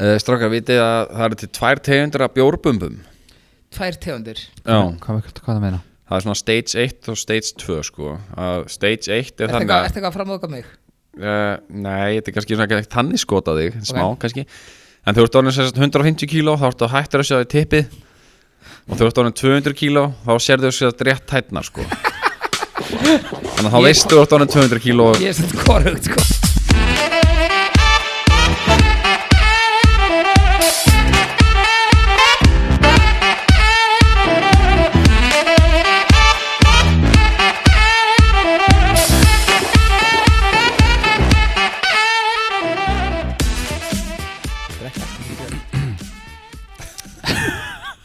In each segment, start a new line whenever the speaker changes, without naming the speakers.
Uh, Stráka, vitið að það eru til tvær tegundir af bjórbumbum
Tvær tegundir
Já
Hvað, hvað, hvað það meina?
Það er svona stage 1 og stage 2 sko að Stage 1 er
Er
þannig
þetta
að
eitthvað að framöðuga mig?
uh, Nei, þetta er kannski svona ekki þannig skota þig Smá kannski En þú ert orðin sem sagt 150 kíló Þá ertu hættur að sjá þig tippið Og þú ert orðin 200 kíló Þá sérðu þess að rétt tætnar sko Þannig að þá veistu þú ert orðin 200 kíló
Ég er svona korugt sko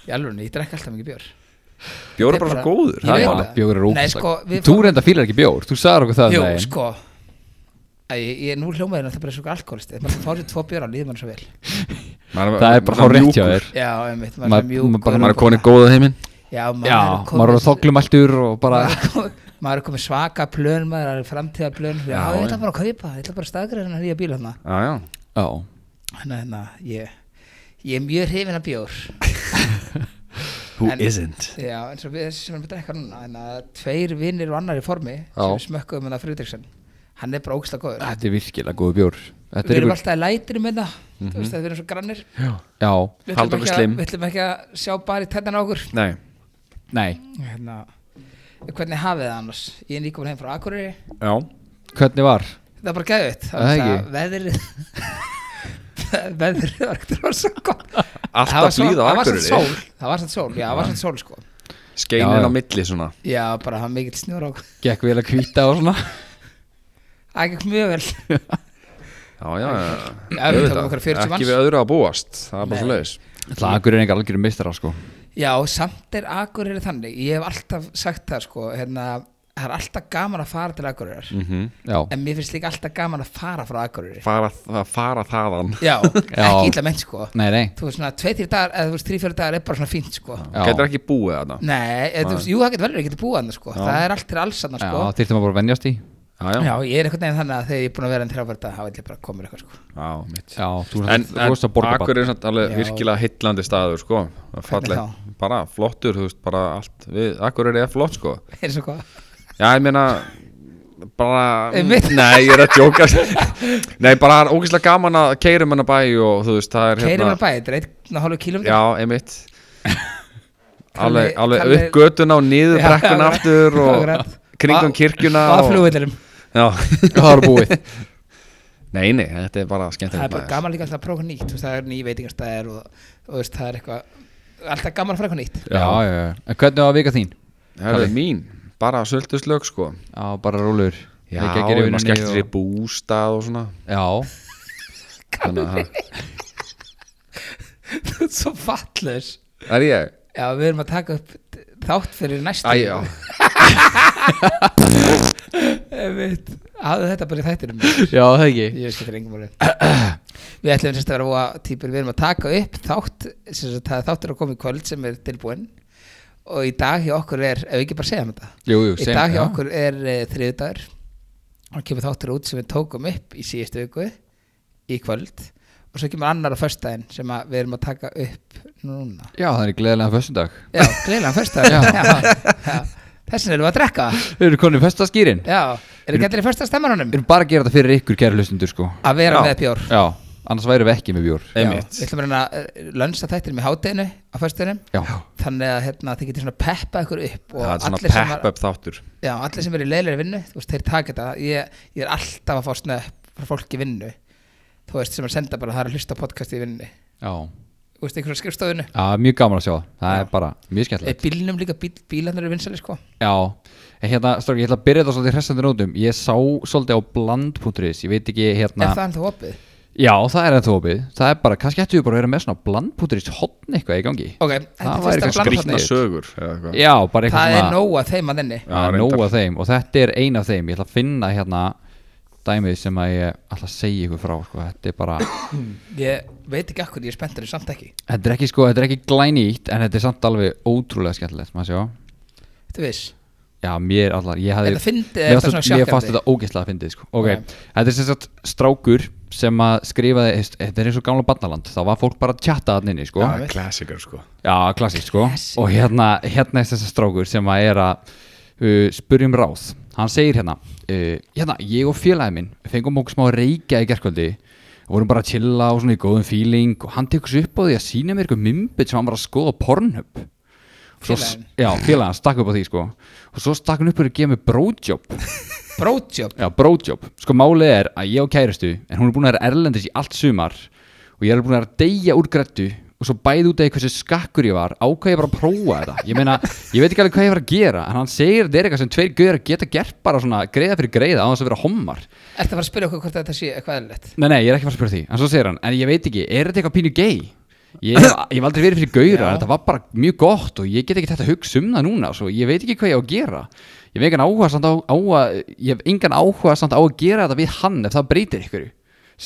Í alvörunni, ég drekk alltaf mikið bjór
Bjór er bara svo góður
Ég
það er
veit
málið.
það.
Bjór er
Nei,
ógæslega
sko, við
Þú
fá-
reynda fílar ekki bjór, þú sagðar okkur það um
Jú,
daginn.
sko Æ, ég, ég, Nú hljómaði hérna, þetta bara eins og alkoholist Ef maður fáið tvo bjóra, líður mann svo vel
Maður-
Það er bara hár
maður
rétt hjá
mjúkur.
þér
Já, einmitt,
Ma-
maður er mjúk
ma- bara-
Maður er komin í góða heiminn
Já, maður
Já,
er komin
maður er þoklumæltur og bara
maður er komin- Maður er komið svaka plön, maður er framtíða plön Já,
Já,
ég
já.
ætla bara að kaupa, ég ætla bara að staðgreina hennar nýja bíl
Já,
hann
já
Já,
Þannig að hérna, ég Ég er mjög hrifin af bjór
Who
En-
isn't?
Já, eins og við þessi sem við drekka núna En að tveir vinnir og annar í formi
Já.
sem við smökkuðum hennar Friðriksson Hann er bara ógsta góður
þetta er virkilega góð bjór Þetta
Við
er
erum
ykkur,
alltaf í lætinu með það Þú veist að við erum svo grannir
já,
Við
Halda
ætlum
okkur
ekki að-
slim.
Við ætlum ekki að sjá bara í tennan á okkur
Nei
nei
hérna, Hvernig hafið það annars? Ég er nýkomin heim frá Akureyri
Já
Hvernig var?
Það er bara gæðið
Það er ekki.
Veðrið Veðrið var ekkert rosa gott Það var
Alltaf
svo-
blíða á
Það var
akkurir
satt sól Það var satt sól Já, það var satt sól sko
Já,
Skeinin
já.
á milli svona
Já, bara það var mikill snjór á okkur
Gekk vel að kvíta og svona
Það gekk mjög vel
Já, já, já
Já, við tókum okkur 40
Ekki
um manns
við öðru að búast Það er bara
Nei.
svo leiðis
Það akkur er engar algjörum meistara sko
Já, samt er Akureyri þannig Ég hef alltaf sagt það sko hérna, Það er alltaf gaman að fara til Akureyrar
Já,
En mér finnst líka alltaf gaman að fara frá Akureyri
fara, að fara þaðan
Já, ekki illa menn sko
nei, nei
Þú veist svona, tvei þrjir dagar eða þú veist, þrjir fyrir dagar er bara svona fínt sko
Já.
Getur ekki búið þarna
Nei, eða, þú veist, jú það getur verður, ég getur búið hann sko Það er allt til alls hann
Já,
sko
þyrftum að bara að venjast í
Já,
Já,
já,
ég er einhvern veginn þannig að þegar ég er búin að vera enn þrjá fyrir dagar þá vil ég bara koma mér eitthvað sko
já, mitt
Já, þú
En,
veist að rosa
en
borga
akkur er samt alveg
Já.
virkilega hillandi staður sko Það er
Hvernig
fallegt. Bara flottur, þú veist, bara allt við, Akkur er flott sko
Eins og hvað
Já, ég meina bara,
Einmitt.
nei, ég er að djóka Nei, bara það er ógeðslega gaman að keirum hennar bæ og þú veist, það er hérna-
Keirir mér bæði, þetta er einn og hálfu kílómetri
Já, einmitt Alveg,
Kalli-
alveg
Kalli-
upp götuna og niður
Já,
brekkuna
akkurat,
aftur og
akkurat.
kringum
Ba-
kirkjuna
Að
og-
flugvillum
Já,
Það var búið
nei, nei, þetta er bara
Það
skemmtilegt
er bara gaman líka alltaf að prófa nýtt þú veist, Það er ný veitingastæðir og, og þú veist, það er eitthvað Alltaf gaman að fara eitthvað nýtt
Já, já, já En hvernig var vika þín?
Það er mín, bara sölduslög sko
Já, bara rólur
Já, maður skellti sér í bústað og svona
Já,
Þannig að það-
Þú ert Svo fallus
Er ég?
Já, við erum að taka upp þátt fyrir næstu
Æ, já,
Einmitt. Hafðu Eh, þetta bara í þættinum Ég
já, það ekki
veist þetta er engum máli Við ætlum sérst að vera óa típur Við erum að taka upp þátt sérst, það er þáttur að koma í kvöld sem er tilbúin og í dag hjá okkur er ef við ekki bara segja um þetta
Jú, jú,
í dag hjá okkur er uh, þriðdagur og kemur þáttur út sem við tókum upp í síðustu viku í kvöld og svo kemur annar á föstudaginn sem að við erum að taka upp núna
Já, það er gleðilega föstudag
Já, greiðlega föstudaginn Já, já. Þessin erum við að drekka
Við erum konum festaskýrin
Já, eru gættir í föstudagsstemmarunum?
Við erum bara að gera þetta fyrir ykkur kæra hlustundur sko
Að vera
Já.
með bjór
Já, annars værum við ekki með bjór
Já,
einmitt
Við ætlum að reyna að lönsa þættinum í hátæðinu á föstunum
Já,
þannig að hérna, þið getur svona peppa ykkur upp og
Það er svona
allir sem,
pepp
var,
upp þáttur
já, allir sem er í leiðlega vinnu þú veist, þeir taka þetta ég, ég er alltaf að fá snöpp frá fólki í vinnu þú veist, sem er að senda bara það er að hlusta á podcast í vinnu
já
þú veist, einhverja skrifstofinu
Já, mjög gaman að sjá það Það er bara mjög
er
skemmtilegt
bílnum líka bíl, bílarnir eru vinsæli sko
Já, en hérna, strók, ég ætla að byrja þetta svolítið hressandi nótum Ég sá svolítið á bland.is Ég veit ekki
er
hérna
það ennþá opið?
Já, það er ennþá opið Það er bara, kannski ættu við bara að vera með svona bland.is hotn eitthvað í gangi
ok, þetta
Það
er
væri
fyrsta
kannski
bland
skrýtna
Skrýtna
þarna.
sögur
Blandið.
eða eitthvað.
Já, bara eitthvað
það er
svona-
nóa þeim að þenni
Það er
reyndar.
nóg af þeim og þetta er ein af þeim Ég ætla að finna hérna dæmið sem að ég ætla að segja ykkur frá sko. Þetta er bara,
ég veit ekki akkur, ég er spenntur, ég samt ekki
þetta er ekki sko Þetta er ekki glænýtt en þetta er samt alveg ótrúlega skemmtilegt maður sjá
þetta viss,
Já, mér allar, ég hafði
þetta fyndi
Mér fannst
þetta
þetta- mér fannst
sjokkandi?
þetta ógeðslega að fyndið sko. Ok,
Ok.
þetta er sem sagt strákur sem að skrifaði, heist, þetta er eins og gamla barnaland, þá var fólk bara að tjatta hann inni sko.
Það er klassikur sko
Já, klassík sko
Klassík.
Og hérna, hérna er þessi strákur sem að er að uh, spurja um ráð Hann segir hérna uh, Hérna, ég og félagi minn fengum okkur smá reykja í gerkvöldi og vorum bara að chilla og svona í góðum feeling og hann tekur sér upp á því að sína mér eitthvað mymbit sem hann var að skoða á Pornhub Svo s-
Félaginn?
Já, félagin stakk upp á því sko og svo stakk hann upp úr að gefa mér bróðjob
Brótjob
Já, bróðjob Sko málið er að ég á kæristu en hún er búin að vera erlendis í allt sumar og ég er búin að vera að deyja úr grættu og svo bæði út af því hversu skakkur ég var ákvað ég bara að prófa þetta ég meina, ég veit ekki alveg hvað ég var að gera en hann segir að þetta er eitthvað sem tveir gauðar geta gert bara svona greiða fyrir greiða á þess að vera hommar
Ertu að fara að spyrja okkur hvort þetta sé eitthvað eðlilegt
Nei, nei, ég er ekki að fara að spyrja því en svo segir hann, en ég veit ekki, er þetta eitthvað pínu gay? Ég, hef- ég hef aldrei verið fyrir gauðra
Já.
þetta var bara mjög gott og ég get ekki þetta að hugsa um það núna svo ég veit ekki hvað ég á að gera ég hef engan áhuga samt á, á að ég hef engan áhuga samt á að gera þetta við hann ef það breytir ykkur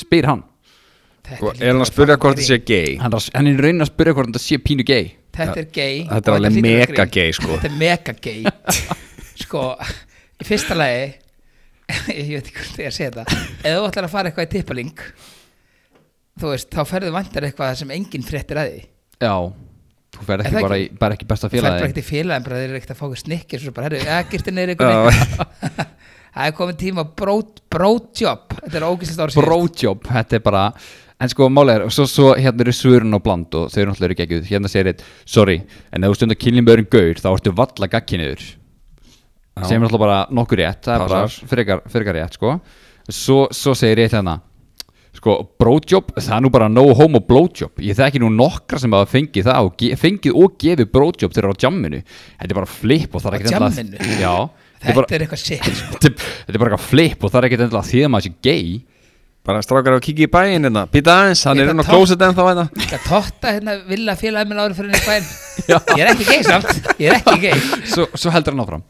spyr hann
Þetta
Og
hlýtur
er hann að spyrja
vera
hvort það
grín.
sé gay
hann er, að- hann er raunin að spyrja hvort þetta sé pínu gay
Þetta er gay
Þetta er
og
alveg
hlýtur að
mega
vera grín.
gay, sko.
Þetta er mega gay Sko, í fyrsta lagi Ég veit ekki hvort ég að segja þetta Ef þú ætlar að fara eitthvað í tippaling Þú veist, þá ferðu vantar eitthvað sem enginn fréttir að því
já, þú ferð
Er það
ekki bara,
ekki?
í, bara ekki besta
Það er bara
félagi
ekkert í félagin bara þeir eru ekkert að fá okkur snikkir svo bara, herru, eða girtir neyri
Já.
ykkur Það er komin tíma brót, brótjob Þetta er ógæslegt ára síðan
brótjob, þetta er bara en sko málega er, og svo, svo hérna eru svörun og bland og þau eru náttúrulega ekki ekki hérna segir eitt, sorry, en ef þú stundar kynlíf með öðrum gaur þá ertu valla gagkinuður sem er náttúrulega bara nokkur rétt það er
Passar.
bara frekar, frekar rétt sko svo, svo segir eitt hérna sko, brótjob, það er nú bara no homo blowjob, ég þekki nú nokkra sem hafa fengið það og ge, fengið og gefið blowjob þegar þeir eru á jamminu, þetta er bara flip og það
Á
er ekki
jamminu?
já, þetta er
Þetta
bara,
er eitthvað sér
þetta er- þetta er bara eitthvað flip og það er ekki endilega því að maður sé gay
Bara strákar að kíkja í bæinn hérna Býta aðeins, hann
Ég
er
ætla
inn á
að tá-
klóset en þá hérna
Þetta totta hérna vilja félagin minn ára fyrir henni bæn Ég er ekki gay samt Ég er ekki gay
svo, svo heldur hann áfram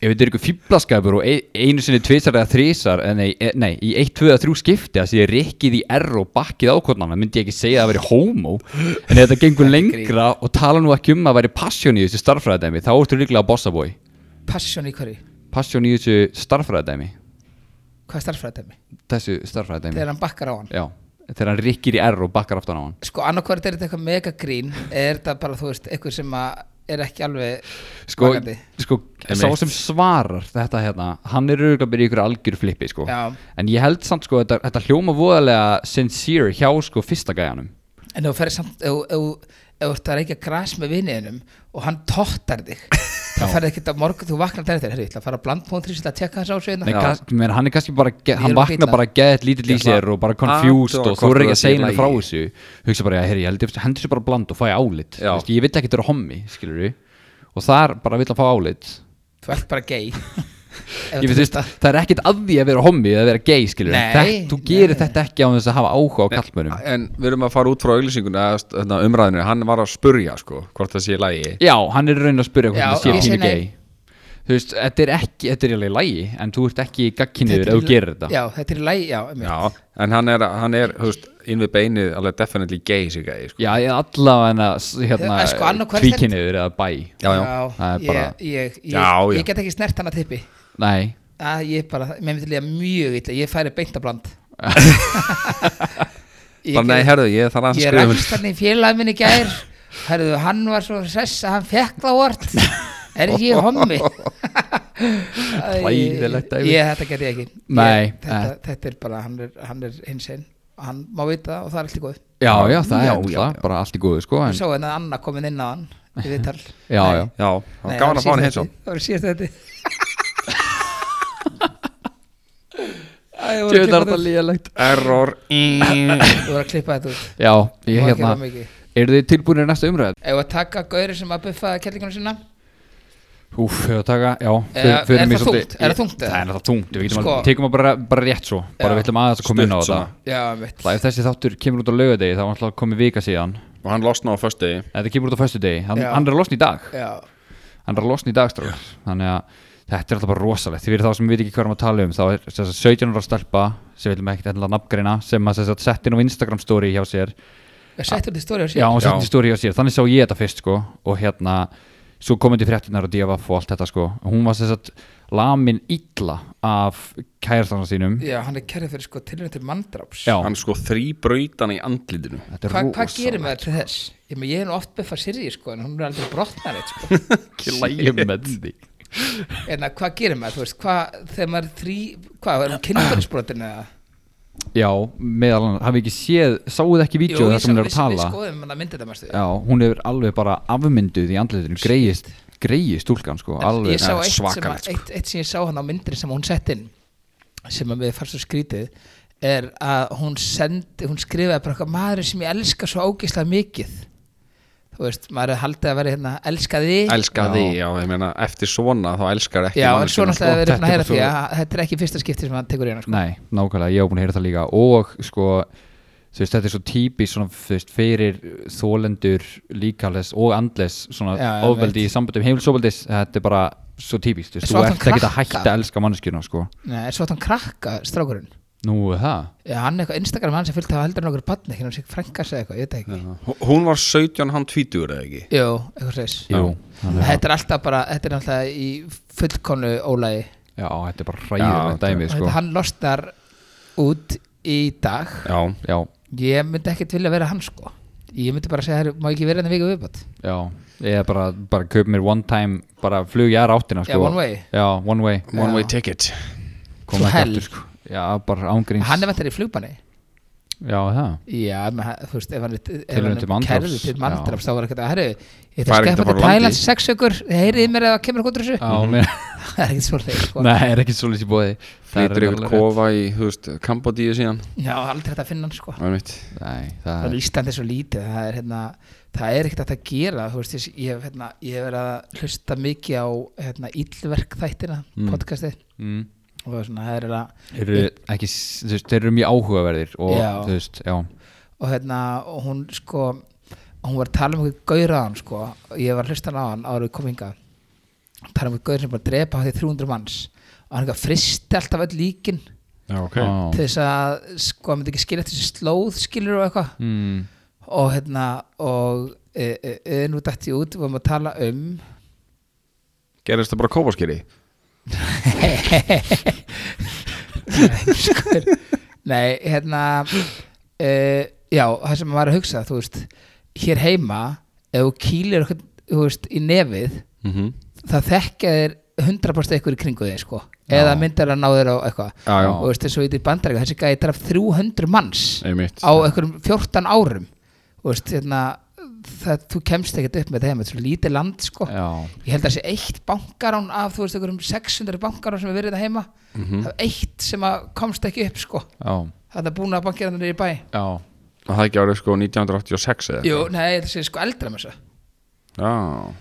ef þetta er ykkur fýblaskapur og e- einu sinni tvisar eða þrísar eh, nei, e- nei, í eitt, tvö eða þrjú skipti að því ég rikkið í R og bakkið ákvörnana myndi ég ekki segja að það væri homo en ef þetta gengur lengra og tala nú ekki um að væri passion í þessu starffræðadæmi þá ertu líklega bossabói
Passion í hverju?
passion í þessu starffræðadæmi
Hvað er starffræðdæmi?
þessu starffræðadæmi
Þegar hann bakkar á hann
já, þegar hann rikkir í R og bakkar aftan á hann
Sko, annarkvært er þetta eitthvað mega grín eða er þetta bara, þú veist, eitthvað sem að er ekki alveg
sko,
vakandi?
sko sá
Einmitt.
sem svarar þetta hérna hann er auðvitað byrja ykkur algjör flippi sko.
Já.
en ég held samt sko þetta, þetta hljóma voðalega sincere hjá sko fyrsta gæjanum
En ef þú ferð samt, ef ef- ef þú ert að reykja græs með viniðinum og hann tóttar þig þá
Já.
ferði ekkert að morgun, þú vaknar dæri þér, herri, ég ætla að fara að blandmóðum þrýs að tjekka hans á sig
Nei,
hérna.
kas, menn, hann er kannski bara ge-
Ég er
hann
að
vaknar
fíla.
bara gett lítill í
Ég ætla
sér og bara
að
confused
athuga
og þú
hvort
er ekki að
það sé í
segja henni frá
lagi.
þessu hugsa bara, herri, ég held ég hendur sér bara bland og fæ álit
Já.
Vist, ég vill ekki þetta hommi, skilur og þar bara vill að fá álit
Þú ert bara gay.
Ég veist, þú veist, það er ekkert að því að vera hommi eða vera gay, skilur
Nei,
þú gerir
nei.
þetta ekki á þess að hafa áhuga á kallmönum
En við erum að fara út frá auglýsingunni eða, hérna, umræðinu, hann var að spurja sko Hvort það sé í lagi
Já, hann er raun að spyrja
Já,
hvort það
ég
sé
segi
pínu
nei.
gay Þú veist, þetta er ekki, þetta er alveg lægi En þú ert ekki gagkinniður ef þú gerir þetta
Já, þetta er í lægi, já, um,
Já, en hann er, hann er, þú veist, inn við beinið alveg definitely gay sig gæði sko
Já, ég allavega hérna,
Eh, sko, annað hvert
Tvíkinniður eða bæ
Já, já,
það er
ég,
bara-
ég, ég,
Já, já.
ég get ekki snert hann að tippi.
Nei,
að ég bara, mér myndi líða mjög illa ég færi beint að bland Ég
bara nei,
gerði-
herðu, ég
hérna,
þarf aðeins
ég
að skrifa um-
rakst hann í félagin minni gær herðu, hann var svo sess að hann fekk lávart er ég hommi Æ,
Hræðilegt dæmi.
ég, þetta get ég ekki ég,
Nei,
þetta, þetta er bara, hann er, hann er hinsinn og hann má vita það og það er allt í góð
já, já, það
Já,
er
já,
alltaf bara allt í góðu sko en,
ég sá henni að Anna komin inn á hann í viðtal
Já, já,
Já, það var gaman að fá hann heim svo
það var síðast þetta Æ,
Djöfull er þetta lélegt
Error
Þú voru að klippa þetta út
Já, ég
Má ekki
hérna
það mikið.
Eru þið tilbúinir í næsta umræð?
Ef að taka gauri sem að buffaði kellingunum sína
Úf, hefur taka, já
Eh,
förum- förum
er
í
það
svolítið-
þungt? Er það þungt
Það
eða?
er náttúrulega þungt, við getum
Sko.
alveg, tekum að bara, bara rétt svo Bara
Já.
við ætlum aðeins að koma inn á
Stutt
þetta
svona.
Já, um mitt
Það ef þessi þáttur kemur út á laugardegi þá er alltaf komið vika síðan
Og hann losna á föstudegi
Þetta kemur út á föstu degi, hann,
Já.
hann er að losna í dag
Já,
hann er að losna í dagstrákar þannig að þetta er alltaf bara rosalegt því fyrir þá sem við veit ekki hvað erum að tala um þá er sem sagt, 17 ára stelpa sem viljum ekkert endilega nafngreina sem að sem sagt, sett inn á Instagram story hjá sér
ég settur þetta í stóri á sér
já, hún
Já.
setti story hjá sér, þannig sá ég þetta fyrst sko og hérna, svo komandi fréttinar og divaf og allt þetta sko hún var sem sagt lamin illa af kærastana sínum
Já, hann er kærið fyrir sko tilnætt til manndráps
Já,
hann sko þrý brautan í andlitinu
þetta er
Hva, Hvað
rosalegt. sko.
gerir maður til þess? Ég, meina, ég hef nú oft buffað Siri sko en hún er aldrei brotnar eitt sko
Ekki lægi með því
En að hvað gerir maður, þú veist, hvað þegar maður er þrý, hvað, er hún kynfærisbrotin eða?
Já, meðal hann, hafi ekki séð Sáuð ekki vídeo
Jú,
þar sem hún er að
sá- við-
tala
Við skoðum hann að myndi þetta mérstu
Já, hún hefur alveg bara afmynduð í andlitinu Greið, greið stúlkan sko Alveg
Ég sá
ja,
eitt sem, að,
svakalegt sko.
eitt, eitt sem ég sá hann á myndinni sem hún sett inn sem að við fannst svo skrítið er að hún sendi, hún skrifaði bara eitthvað maður sem ég elska svo ógislega mikið þú veist, maður er haldið að vera hérna elskaði,
elska
Já.
því, já, ég meina eftir svona þá elskar ekki
já, en
manneskjuna,
svo náttúrulega
sko.
við erum að heyra
Þetta er
því
bara
að þetta er ekki fyrsta skipti sem hann tekur í hana sko.
Nei, nákvæmlega, ég hef búin að heyra það líka og sko, þú veist, þetta er svo típis svona, þú veist, fyrir þólendur líkales og andles svona
Já, ég
ofbeldi í sambandum heimilsofbeldis þetta er bara svo típist, þú veist,
Svo
þú
átti
ert
hann
ekki að
krakka.
hætta að elska manneskjuna, sko
Nei, en svo átt hann krakka, strákurinn
Nú, er það?
já, hann er eitthvað Instagram, hann sem fylgta að heldur nokkur badni, hérna sig frængas eða eitthvað, ég veit það ekki
Já. hún var 17, hann 20 eða ekki
Jú, eitthvað slags
Jú, þannig að-
Þetta er alltaf bara, þetta er alltaf í fullkonu ólægi
Já, þetta er bara
Já,
hræðilegt
þetta-
dæmi, sko
Þetta hann losnar út í dag
já,
Já,
Ég myndi ekkert vilja vera hann sko Ég myndi bara segja, "Herru, má ekki vera hann viku viðbátt
já, ég er bara, bara kaup mér one time, bara flug ég aðra áttina,
Já,
sko
one way.
Já, one way,
one way ticket
kom
Svo
ekki
hell.
aftur, sko Já, bara ángríns
Hann er vantar í flugbanni
Já, er það
Já, menn, hann- þú veist, ef hann er- ef
Tilraun
hann
til
er
manndráps.
kærður til mandraps Þá var ekkert að, herru, ég
Fær
ætla að
ekkert að fara
skeppa til
úr landi.
Thailand sex ökur Heyriði mér eða kemur kontra þessu
Já, mér
Það er ekkert svolítið sko
Nei, er ekki svolítið í bóði
flýtur yfir kofa í, þú veist, Kambodíu síðan
Já, aldrei þetta að finna hann sko
það er mitt
Nei,
Það
það
er
er
Íslandi svo lítið, það er, hérna, það er ekkert hægt að gera, þú veist, ég- ég hef hérna, ég hef verið að hlusta mikið á hérna, íllverk þættina,
Mm.
podcastið
mm.
og svona, það er að,
eru ekki, s- þú veist, þeir eru mjög áhugaverðir og
Já.
þú veist, já
og hérna, og hún sko, hún var að tala um eitthvað gauraðan sko, og ég var að hlusta hann á hann árið kominga, tala um eitthvað gaur sem bara drepa á því 300 manns og hann eitthvað fristi alltaf öll líkin
já, ok
Á.
til þess að, sko, hann myndi ekki skilja eftir þessi slóð skilur og eitthvað
mm.
og hérna, og e, e, e, nú dætti ég út, við varum að tala um
gerist það bara kópaskeri
Nei, skur. Nei, hérna uh, Já, það sem maður er að hugsa Þú veist, hér heima Ef þú kýlir okkur, þú veist, í nefið
mm -hmm.
Það þekkja þér 100% eitthvað í kringu þig, sko
Já.
Eða myndar að ná þér á eitthvað
já, já,
Og veist, eins og í bandarækja, þessi gæði draf 300 manns
einmitt
Á einhverjum 14 árum Þú veist, hérna Það, þú kemst ekkert upp með það heima, þetta er svo lítið land sko.
já,
ég held að það sé eitt bankarán af þú veist einhverjum 600 bankarán sem er verið það heima
Mm.
Mhm.
það er eitt sem að komst ekki upp sko
já,
það er búin að bankera þannig í bæ
já
og það ekki árið sko 1986 eða
Jú, nei, það sé sko eldra með þessu
eitthvað. já,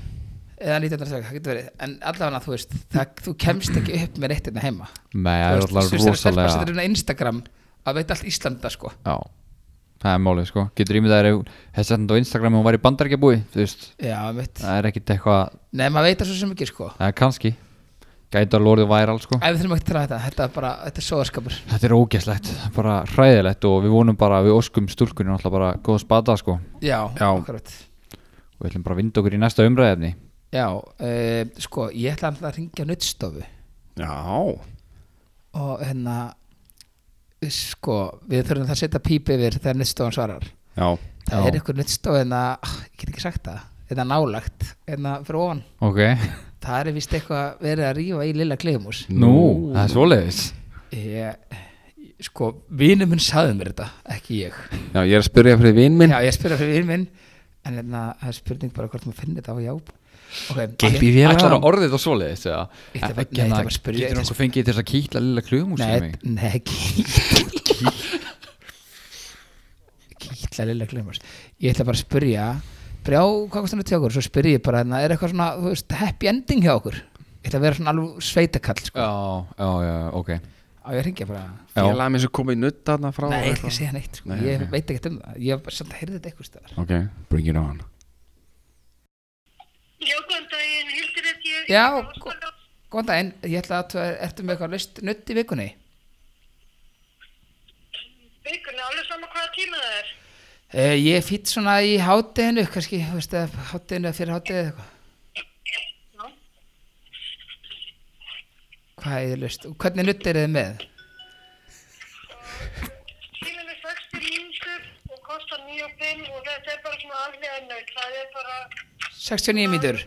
eða 1903, það getur verið en allavega þú veist, það, þú kemst ekki upp með reitt hérna heima
Nei, það er alltaf
Það er
rosalega
hérna Instagram að veit allt Íslanda sko
Já, það er málið, sko Getur ímyndað þær ef þessi þetta á Instagram hún var í bandarækjabúi, þú veist
Já, mitt
Það er ekkit eitthvað,
Nei, maður veit það svo sem ekki sko
það er kannski Gæti að lórið væral, sko
Æ, við þurfum ekki að tala um þetta, þetta er bara, þetta er sóðaskapur
Þetta er ógæslegt, bara hræðilegt og við vonum bara, við óskum stúlkunum alltaf bara góð spata, sko
Já,
Já.
akkurat.
og við ætlum bara að vinda okkur í næsta umræðefni
Já, uh, sko, ég ætla alltaf að ringja nuttstofu
já.
og hérna sko, við þurfum það að setja pípi yfir þegar nuttstofan svarar
já.
það
Já.
er einhver nuttstof en að, ég get ekki sagt það þetta nálagt, en að fyrir ofan
Ok,
það er vist eitthvað verið að rífa í lilla kleifumús
nú, það er svoleiðis
ég, sko, vinur minn saði mér þetta, ekki ég
já, ég er að spyrja fyrir vinn minn
já, ég spurði fyrir vinur minn en hérna, það er spurning bara hvort maður finnir þetta á já ok,
Geypi í
ég-
vél.
Ætlar að orðið þetta svoleiðis eða?
Ég ætla bara-
Ekki
nei, ég ætla bara
hérna,
að spyrja-
Getur okkur fengið til þess að kýtla lilla klugum úr sem
nei,
mig?
nei, ekki kýtla lilla glimars ég ætla bara að spyrja brjá, hvað kostar þetta hjá okkur, svo spyr ég bara hérna, er eitthvað svona, þú veist, happy ending hjá okkur ég ætla að vera svona alveg sveitakall sko.
Já, já, já, ok
á ég að ringja bara
Já.
ég laði mér sem komið nutt aðna frá
nei, ég ætla
eitthvað.
ekki að segja neitt, sko.
Nei,
ég
ok.
veit ekkert um það ég hef bara samt að heyrði þetta eitthvað stöðar
ok, bring it on
Já, góðan um daginn, hildur þetta ég...
Já,
ég-
gó- góðan daginn, ég ætla að þú ertu með eitthvað list nutt í vikunni
Vikunni, alveg sama hvaða tíma það er.
uh, ég fýtt svona í hátteginu kannski, þú veist, eða hátteginu eða fyrir hátteginu eitthvað
Já.
Hvað er lust? Og Hvernig nutt eru þið með?
Kílan er 60 mínútur og kostar 9 pinn og þetta er bara svona aflega naut. Það er bara
69 mínútur?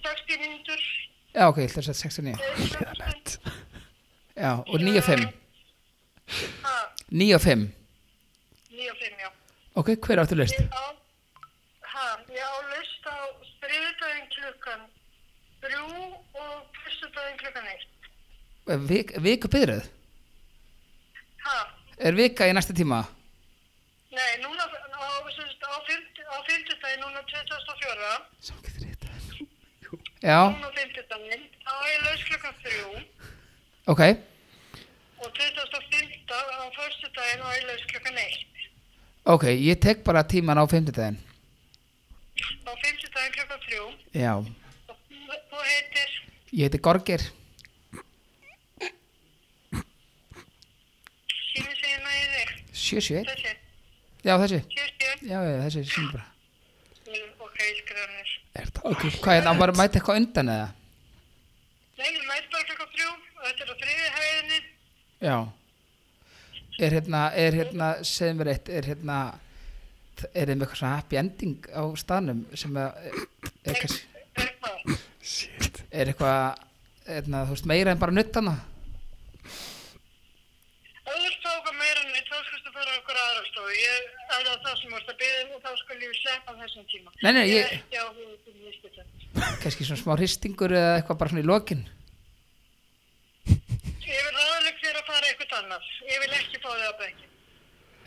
60 mínútur.
Já, ok, ég ætla að setja 69.
Aflega naut.
Já, og 9 og 5.
Ha,
9 og 5.
9 og 5, já.
Ok, hver áttu lust?
Ég á, ha, ég á lust á þriðdaginn klukkan 3 og fyrstudaginn klukkan 1.
Vik, viku byrðröð?
Ha,
Er vika í næsta tíma?
nei, núna á, sem sagt, á, fimt, á fymtudaginn, núna 2004.
Sákið þrítið. Já,
Núna á fymtudaginn, þá er ég lust klukkan 3.
ok.
og 25. á förstu daginn og ælaðis klukkan 1
Ok, ég tek bara tíman á 50 daginn.
á 50 daginn klukkan 3
Já.
og þú- þú heitir
Ég heiti Gorgir.
síni segina í þig
77.
þessi,
Já, þessi.
kjöstjö
Já, já, þessi sem bara.
ok, ég skrifa hann þess
Ok, hvað er það? Bara mæta eitthvað undan eða?
nei, við mætum bara klukkan 3 og þetta er á þriði hæðinni
Já. Er hérna, er hérna, segðu mér eitt, er hérna, er þeim eitthvað svona happy ending á staðnum sem að, er, er,
Bergmá.
er eitthvað, hérna, þú veist, meira en bara nuttana?
ef þú stóka meira en við þá skulstu fara á okkur aðrastofu ég er það það sem vorst að byrja og þá skul ég sleppa þessum tíma
Nei, nei,
ég er
ég-
ekki á hugum til nýstita
Kanski svona smá hristingur eða eitthvað bara svona í lokin?
ég vil ráðaleg þér að fara eitthvað annað ég vil ekki fá þig á bekki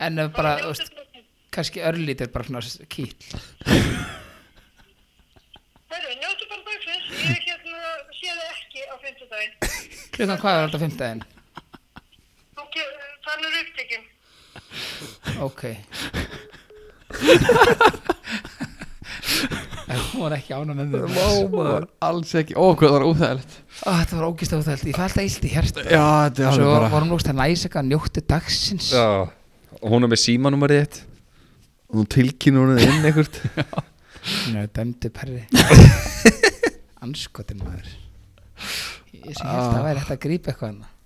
En ef bara, þú veist, kannski örlítir bara svona kýll.
Herru, njóttu bara dagsins, ég hérna sé það ekki á fymtudaginn.
Klukkan hvað er þetta fimmtæðin?
Þú ge- Þannig er upptekinn.
Ok. En Hún var ekki ána með þig.
var alls ekki, ó hvað það var óþægilegt
Ah, þetta var ógist áþælt, ég fæ alltaf illt í hérstu.
Já, þetta er
Svo
alveg bara
var hún lúkst að næsa eitthvað njóttu dagsins.
Já, og hún er með símanúmerið þitt og hún tilkynur hún inn einhvert
Nei, dæmdu perri Anskotin maður Ég
Ah.
sem held að það væri hægt að grípa eitthvað annað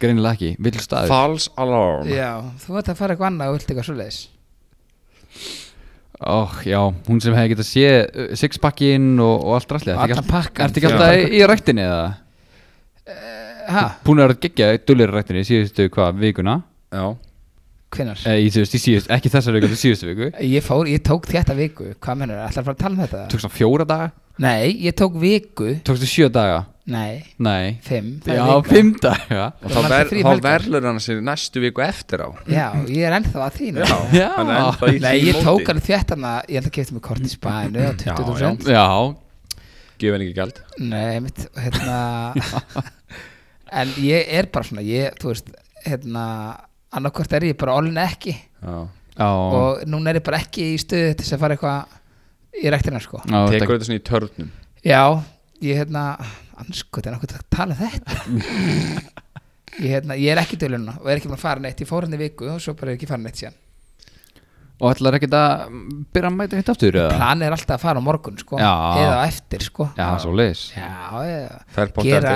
Greinilega ekki, vill staður
False alarm
Já, þú veit að fara eitthvað annað og vilt eitthvað svoleiðis
Ó, já, hún sem hefði getað sé uh, Sixpackin og, og allt rastlega
Allan pakkan.
Ertu ekki
Já.
alltaf í, í ræktinni eða?
Ha,
Búin að vera geggja dullir í ræktinni síðustu hvað, vikuna?
Já,
hvinnar?
Eh, í, þú veist, í síðust, ekki þessar viku, þetta síðustu viku
Ég fór, ég tók þetta viku Hvað mennur, ætlar að fara að tala um þetta?
Tókstu hann fjóra daga?
Nei, ég tók viku
Tókstu sjö daga?
Nei,
Nei
fimm það er
Já,
vika.
fimm daga
og
Það
þá, ver,
var alltaf þrír
þá
helgar.
verður hann sér næstu viku eftir á
Já, ég er ennþá að þínu
Já.
hann er ennþá í
Nei,
því
ég tók
móti.
alveg þetta hana Ég held að kefti mig kort í spænu á 20.000
Já,
Gjöf henni ekki gæld
Nei, mitt, hérna En ég er bara svona Ég, þú veist, hérna Annarkvort er ég bara olin ekki
Já.
já
og núna er ég bara ekki í stöðu til þess að fara eitthvað í rektina sko
Já, þetta-
Tekur þetta svona í törnum
já, ég hérna anskot er nokkuð að tala um þetta ég, hérna, ég er ekki til hérna og er ekki búin að fara neitt, ég fór hérna í viku og svo bara er ég ekki farin neitt síðan
Og ætlar ekkert að byrja að mæta hitt aftur eða?
planið er alltaf að fara á morgun sko
Já.
eða á eftir sko
Já, svo leis
Já,
Það
eða
er pottþétt
gera,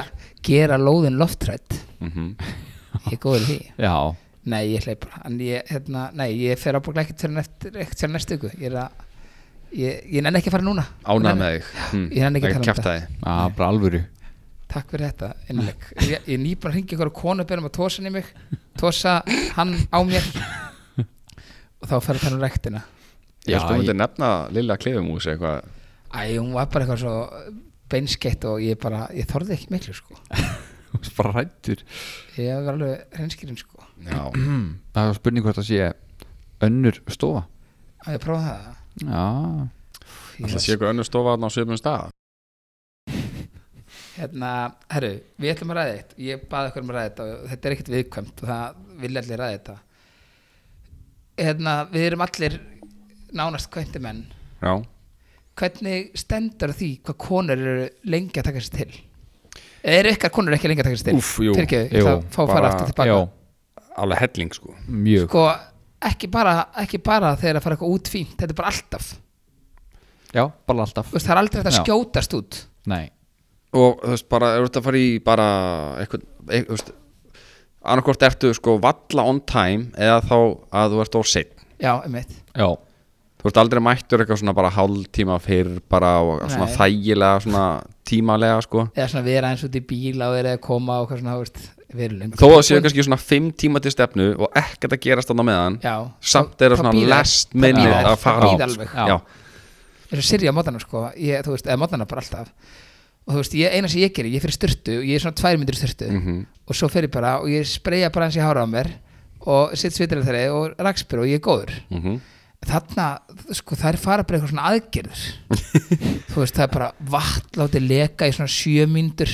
gera lóðin loftrætt
mm
ég er góður í því
Já,
Nei, ég hleyp bara en ég, hérna, Nei, ég fer ábúrlega ekkert fyrir, eftir, ekkert fyrir næstu ykkur Ég er að Ég, ég nenni ekki að fara núna
Ánað
Nenni-
með þig hm.
Ég nenni ekki að tala um
kjafta
þetta.
þig
já bara alvöru
Takk fyrir þetta innlegg Ég, ég er nýbúin að ringa ykkur á konu Byrjum að tósa hann í mig Tósa hann á mér Og þá fer það um rektina
Ég
Já,
held að þú
ég-
myndir nefna Lilla Klefumús eitthvað
Æ, hún var bara eitthvað svo beinskeitt Og ég bara, ég þorði ekki miklu sko
Bara rættur
Ég var alveg hreinskirinn sko
Já,
Það er spurning hvort það sé önnur stofa
Að ég prófa það
Já,
það
Ég-
sé eitthvað önnur stofa þarna á sögum stað
Hérna, herru, við ætlum að ræða eitt Ég baði okkur um að ræða þetta og þetta er ekkert viðkvæmt og það vilja allir ræða þetta Hérna, við erum allir nánast kvænti menn
Já,
Hvernig stendur á því hvað konur eru lengi að taka sér til? Eða eru ykkar konur ekki lengi að taka sér til?
Úff, jú,
Fyrirgeðu,
jú,
ég ætla að fá að fara
bara-
aftur tilbaka
já,
alveg helling sko
mjög
Sko, ekki bara, ekki bara þegar að fara eitthvað út fínt Þetta er bara alltaf
Já, bara alltaf
Þú veist, Það er aldrei þetta
Já.
skjótast út
Nei,
og þú veist bara, ef þú ert að fara í bara eitthvað, eitthvað þú veist, annarkvort ertu sko valla on time eða þá að þú ert of seinn
já, einmitt
Já,
þú ert aldrei mættur eitthvað svona bara hálftíma fyrr bara og svona
Nei.
þægilega svona tímalega sko
eða svona vera eins út í bíl á þeirra að koma og hvað svona, þú veist, verið lengur
þó að það séu kannski svona fimm tíma til stefnu og ekkert að gerast þarna á meðan
já,
samt
þá-
er það
þá
svona
bíða-
last
þá
minute
bíða-
að
þá
fara
bíða
á,
alveg.
sko. Já.
eins og Sirja á mótana sko ég, þú veist, eða mótana bara alltaf og þú veist, ég, eina sem ég gerir, ég fyrir styrtu og ég er svona tvær myndir styrtu
Mhm.
og svo fer ég bara og ég spreja bara hans í hára á mér og sitt svitilega þeirri og rakspyr og ég er góður
Mhm.
þarna, sko, það er fara bara eitthvað svona aðgerður þú veist, það er bara vatn látið leka í svona sjö myndir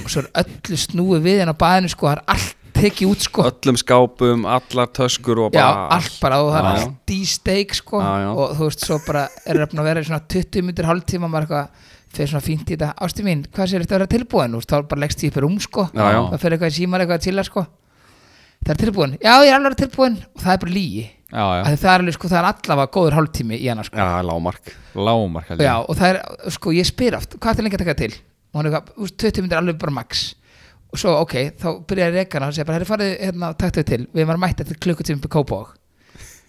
og svo er öllu snúið við en á baðinu sko, það er allt tekið út sko
öllum skápum, allar töskur og
Já,
bara
allt bara og
Já,
það er
já.
allt í steik sko
Já, já.
og þú veist svo bara er það búin að vera í svona 20 minnir hálftíma maður eitthvað fyrir svona fínt í þetta ástu mín, hvað sér þetta að vera tilbúin Úst, þá bara leggst ég upp í rúm sko
Já, já.
það fer eitthvað í símar eitthvað til að sko það er tilbúin, já ég er alveg tilbúin og það er bara lígi
já, já,
það er alveg sko, það er allavega góður hálftími í hana sko
Já, lámark
lágmark held ég.
Já, og það er, sko, ég spyr oft hvað er lengi að taka til? og hann er eitthvað, úst, 20 myndir alveg bara max og svo, ok, þá byrjar reikana og segja bara, herri farið, hérna, taktu þau til við erum að mæta til klukkutími upp í Kópavog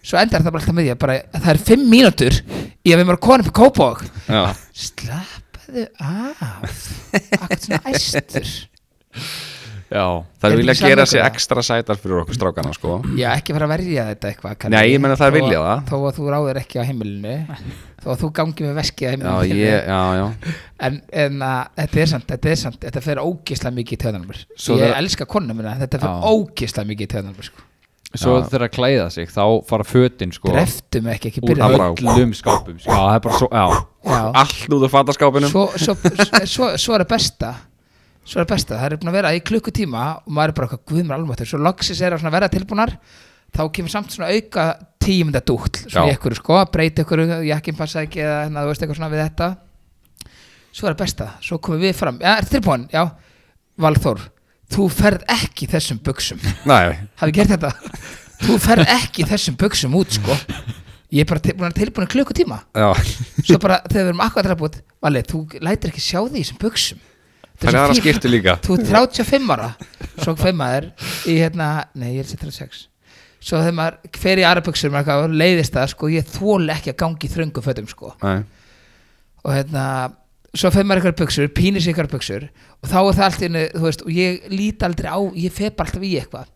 svo endar það bara alltaf með því að bara, að það er 5 mínútur í að við erum að kona upp í Kópavog
Já,
slappaðu af akkur svona æstur
já.
það
Er
er
þetta
vilja
ekki
gera
sannleikur
sig
það?
ekstra sætar fyrir okkur strákana sko
já, ekki fara að verja þetta eitthvað Kalli.
Nei, ég meina það
Þó að-
vilja það.
þó að þú ráðir ekki á heimilinu þó að þú gangi með veskið á
Já,
heimilinu
ég, já, já
en, en að, þetta er samt, þetta er samt þetta fer ógislega mikið í töðanum mér
Svo
ég
þegar-
elska konum minna, en þetta fer
Já.
ógislega mikið í töðanum mér sko.
Svo
Já.
þegar að klæða sig þá fara fötin sko
dreftu mig ekki, ekki
úr
byrja
bara-
öllum skápum sko. Já, það er bara svo, já
Já.
Allt út af fataskápinum
svo, svo, svo, svo, svo er það besta svo er það besta, það er búin að vera í klukkutíma og maður er bara eitthvað guðmur almáttur svo loksis er að svona vera tilbúnar þá kemur samt svona auka tímynda dúll svona
Já.
í ykkur sko, breyti ykkur jakkinn passa ekki eða hérna, þú veist eitthvað svona við þetta svo er það besta, svo komum við fram já, er tilbúin, já, Valþór þú ferð ekki í þessum buksum
Nei,
hafi gert þetta þú ferð ekki þessum buksum út sko ég er bara til- búin að tilbúin klukkutíma
já
svo bara þegar við erum akkurat tilbúin Vali, þú lætir ekki sjá því í þessum buksum
Það er aðra skiptu líka
þú er 35 ára svo fyrir maður í hérna nei, ég er sér 36 svo þegar maður fer í aðra buksur maður eitthvað, leiðist það sko, ég þóli ekki að gangi þröngu fötum sko
Nei,
og hérna svo fer maður eitthvað buksur, pínir sér eitthvað buksur og þá er það allt innu, þú veist og ég lít aldrei á, ég fer bara alltaf í eitthvað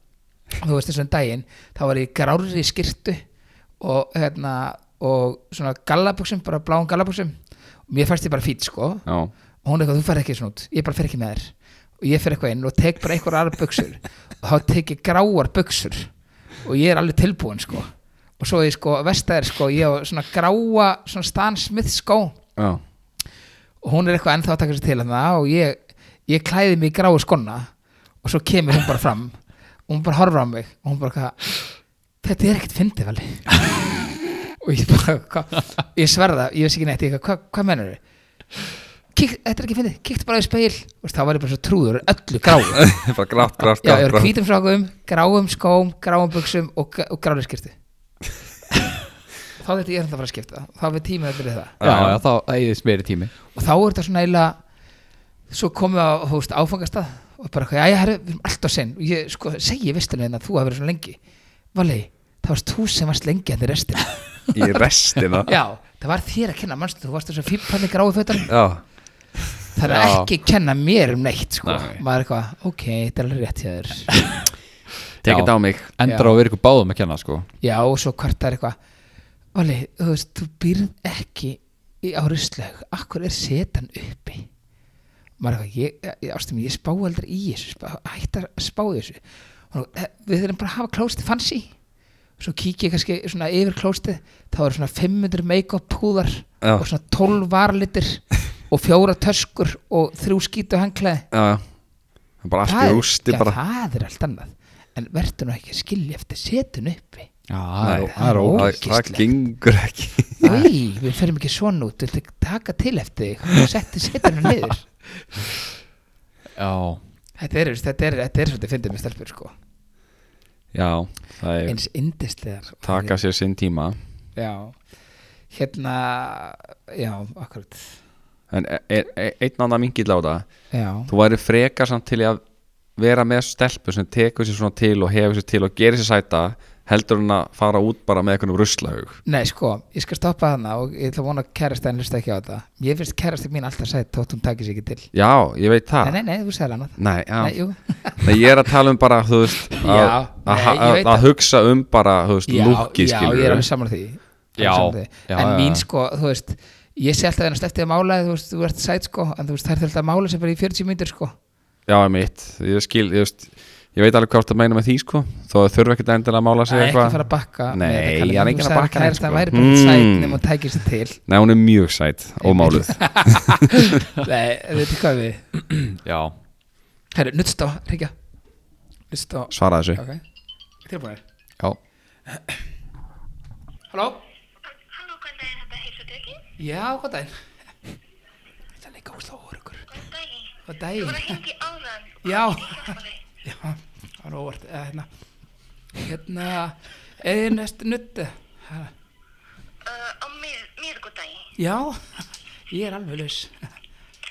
þú veist þessum daginn þá var ég grári skirtu og hérna og svona gallabuxum, bara bláum gallabuxum og mér fannst ég bara fýt sko
já
og hún er eitthvað, þú fer ekki svona út, ég bara fer ekki með þér og ég fer eitthvað inn og tek bara einhver aðra buksur og þá tek ég gráar buksur og ég er alveg tilbúin sko og svo ég sko, vestæðir sko ég á svona gráa, svona Stan Smith skó
Já,
og hún er eitthvað ennþá að taka sér til hana og ég, ég klæði mig í gráu skonna og svo kemur hún bara fram og hún bara horfir á mig og hún bara eitthvað, þetta er ekkert fyndið vali og ég bara hva? ég sverða, ég veist ekki neitt ég, eitthvað, hva, hvað menur þau? Kík, þetta er ekki fyndið, kíktu bara í speil og þá var ég bara svo trúður öllu gráu
bara grátt, grátt, grátt
Já, ég var í
grátt.
hvítum sokkum, gráum skóm, gráum buksum og, og grári skirtu þá þetta ég er þetta að fara að skipta þá við tímið að byrja það
Já, já, þá æðist meiri tími
og þá er þetta svona eiginlega svo komum við á þú veist, áfangastað og bara eitthvað, já, já, við erum alltaf sinn og ég sko, segi vistilega að þú hafi verið svona lengi Valli, það varst þú sem varst lengi en þið restina
Í restina
já, það var þér að kenna, mannstu, þú varst þess að fíparni gráðu fötan
Já,
það er
Já.
ekki að kenna mér um neitt sko.
Nei.
maður er eitthvað, ok, þetta er alveg rétt hjá þér
Já.
tekið á mig
Endar
Já.
á að vera ykkur báðum að kenna sko
já, og svo hvort það er eitthvað Valli, þú veist, þú býrð ekki í áriðsleg, akkur er setan uppi maður er eitthvað, ég, ég, ástum, ég spá aldrei í þessu spá, hættar að spá í þessu og, eh, við þurfum bara að hafa klóstið fancy svo kík ég kannski svona yfir klóstið þá eru svona 500 make-up púðar
Já.
og svona 12 varlitir og fjóra töskur og þrjú skítu hanglaði
Já, já Bara allt í rústi bara
það er allt annað en verður nú ekki að skilja eftir setun uppi
Já, það er-
Nei.
það
Ó.
er ógæð
Það, það
ógeðslegt.
gengur ekki
Nei, við ferum ekki svona út Við taka til eftir þig og setti setunum niður
Já,
Þetta er, þetta er, þetta er svolítið fyndið með stelpur sko.
Já, það er
eins indislegar
Taka sér sinn tíma
Já Hérna, já, akkurat
en e- e- e- einn annan mingill á það
já,
þú væri frekar samt til í að vera með stelpu sem tekur sér svona til og hefur sér til og gerir sér sæta heldur hún að fara út bara með einhvernum ruslahug
nei sko ég skal stoppa þarna og ég ætla að vona að kærastæðin hlusta ekki á þetta ég finnst kærastæðin mín alltaf sætt þótt hún takir sér ekki til
já, ég veit það
nei, nei, nei, þú segir annað
Nei, já.
nei, jú.
Nei, ég er að tala um bara, þú veist að,
Já,
að,
nei,
að,
ég
að,
veit það.
hugsa um bara, þú veist,
já,
lúki
já,
skilur
ég er alveg saman því, Alveg
Já,
sammála því.
já,
en
já,
mín
já.
sko, þú veist ég sé alltaf þennast eftir að mála þú veist, þú ert sætt sko, en þú veist, það er alltaf að mála sem bara í 40 myndir sko,
Já, mitt, ég skil, ég veist Ég veit alveg hvað það meina með því, sko Þó það þurfi ekkert endilega að mála sig
það er ekki að fara að bakka
Nei,
með þetta, Kalli,
ég er
þú
enginn að
sagðir
bakka neitt,
kærastan
sko.
væri bara
Mm.
sætt nema hún tækir sér til
Nei, hún er mjög sætt og máluð
Nei, veitir hvað við
Já,
Herru, nuttstá, reykja Nuttstá,
Svara þessu
ok Tilbúinir
já
Halló?
Halló, góðan daginn, þetta heilsa Birgir.
Já, góð daginn Það er líka úrslega óöryggur
Góðan daginn.
Góð
Þú voru
daginn
að hengja í áðan.
Já.
Ég hjálpa þér.
Já, það var óvart eh, Hérna, hérna Eða næst nutt
Uh, og mér, mér er góð daginn.
Já, ég er alveg laus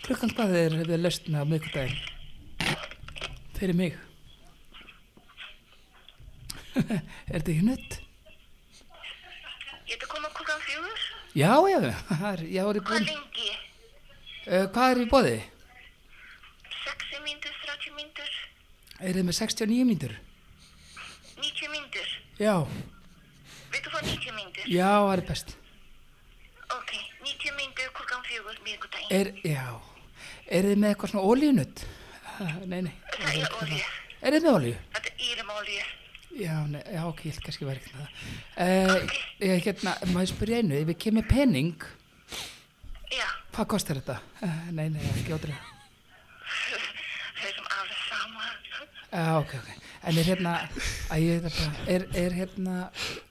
Klukkan hvað er við lausna á miðgudaginn? Fyrir mig Er þetta ekki nutt?
Ég ætla að koma klukkan fjögur.
Já, já, það er- já, er ég
Hvað
búin
lengi?
uh, Hvað er í bóði?
60 mínútur, 30 mínútur,
Er þið með 69 mínútur?
90 mínútur.
Já,
Viltu fá 90 mínútur?
já, það er best.
Ok, 90 mínútur, klukkan fjögur, mér er góð daginn.
Er, já, er þið með eitthvað svona ólíunutt? Nei, nei.
Það er olíu.
Er þið með ólíu?
Þetta er írum olíu.
Já, nei, já, ok, ég vil kannski vera eitthvað það. Uh, ég, hérna, maður spyrja einu, ef ég kem með penning,
Já,
hvað kostar þetta? Uh, nei, nei, ekki ótrúið.
það er sem alveg sama.
Já, Eh, ok, ok. En er hérna, að ég veit bara, er, er hérna,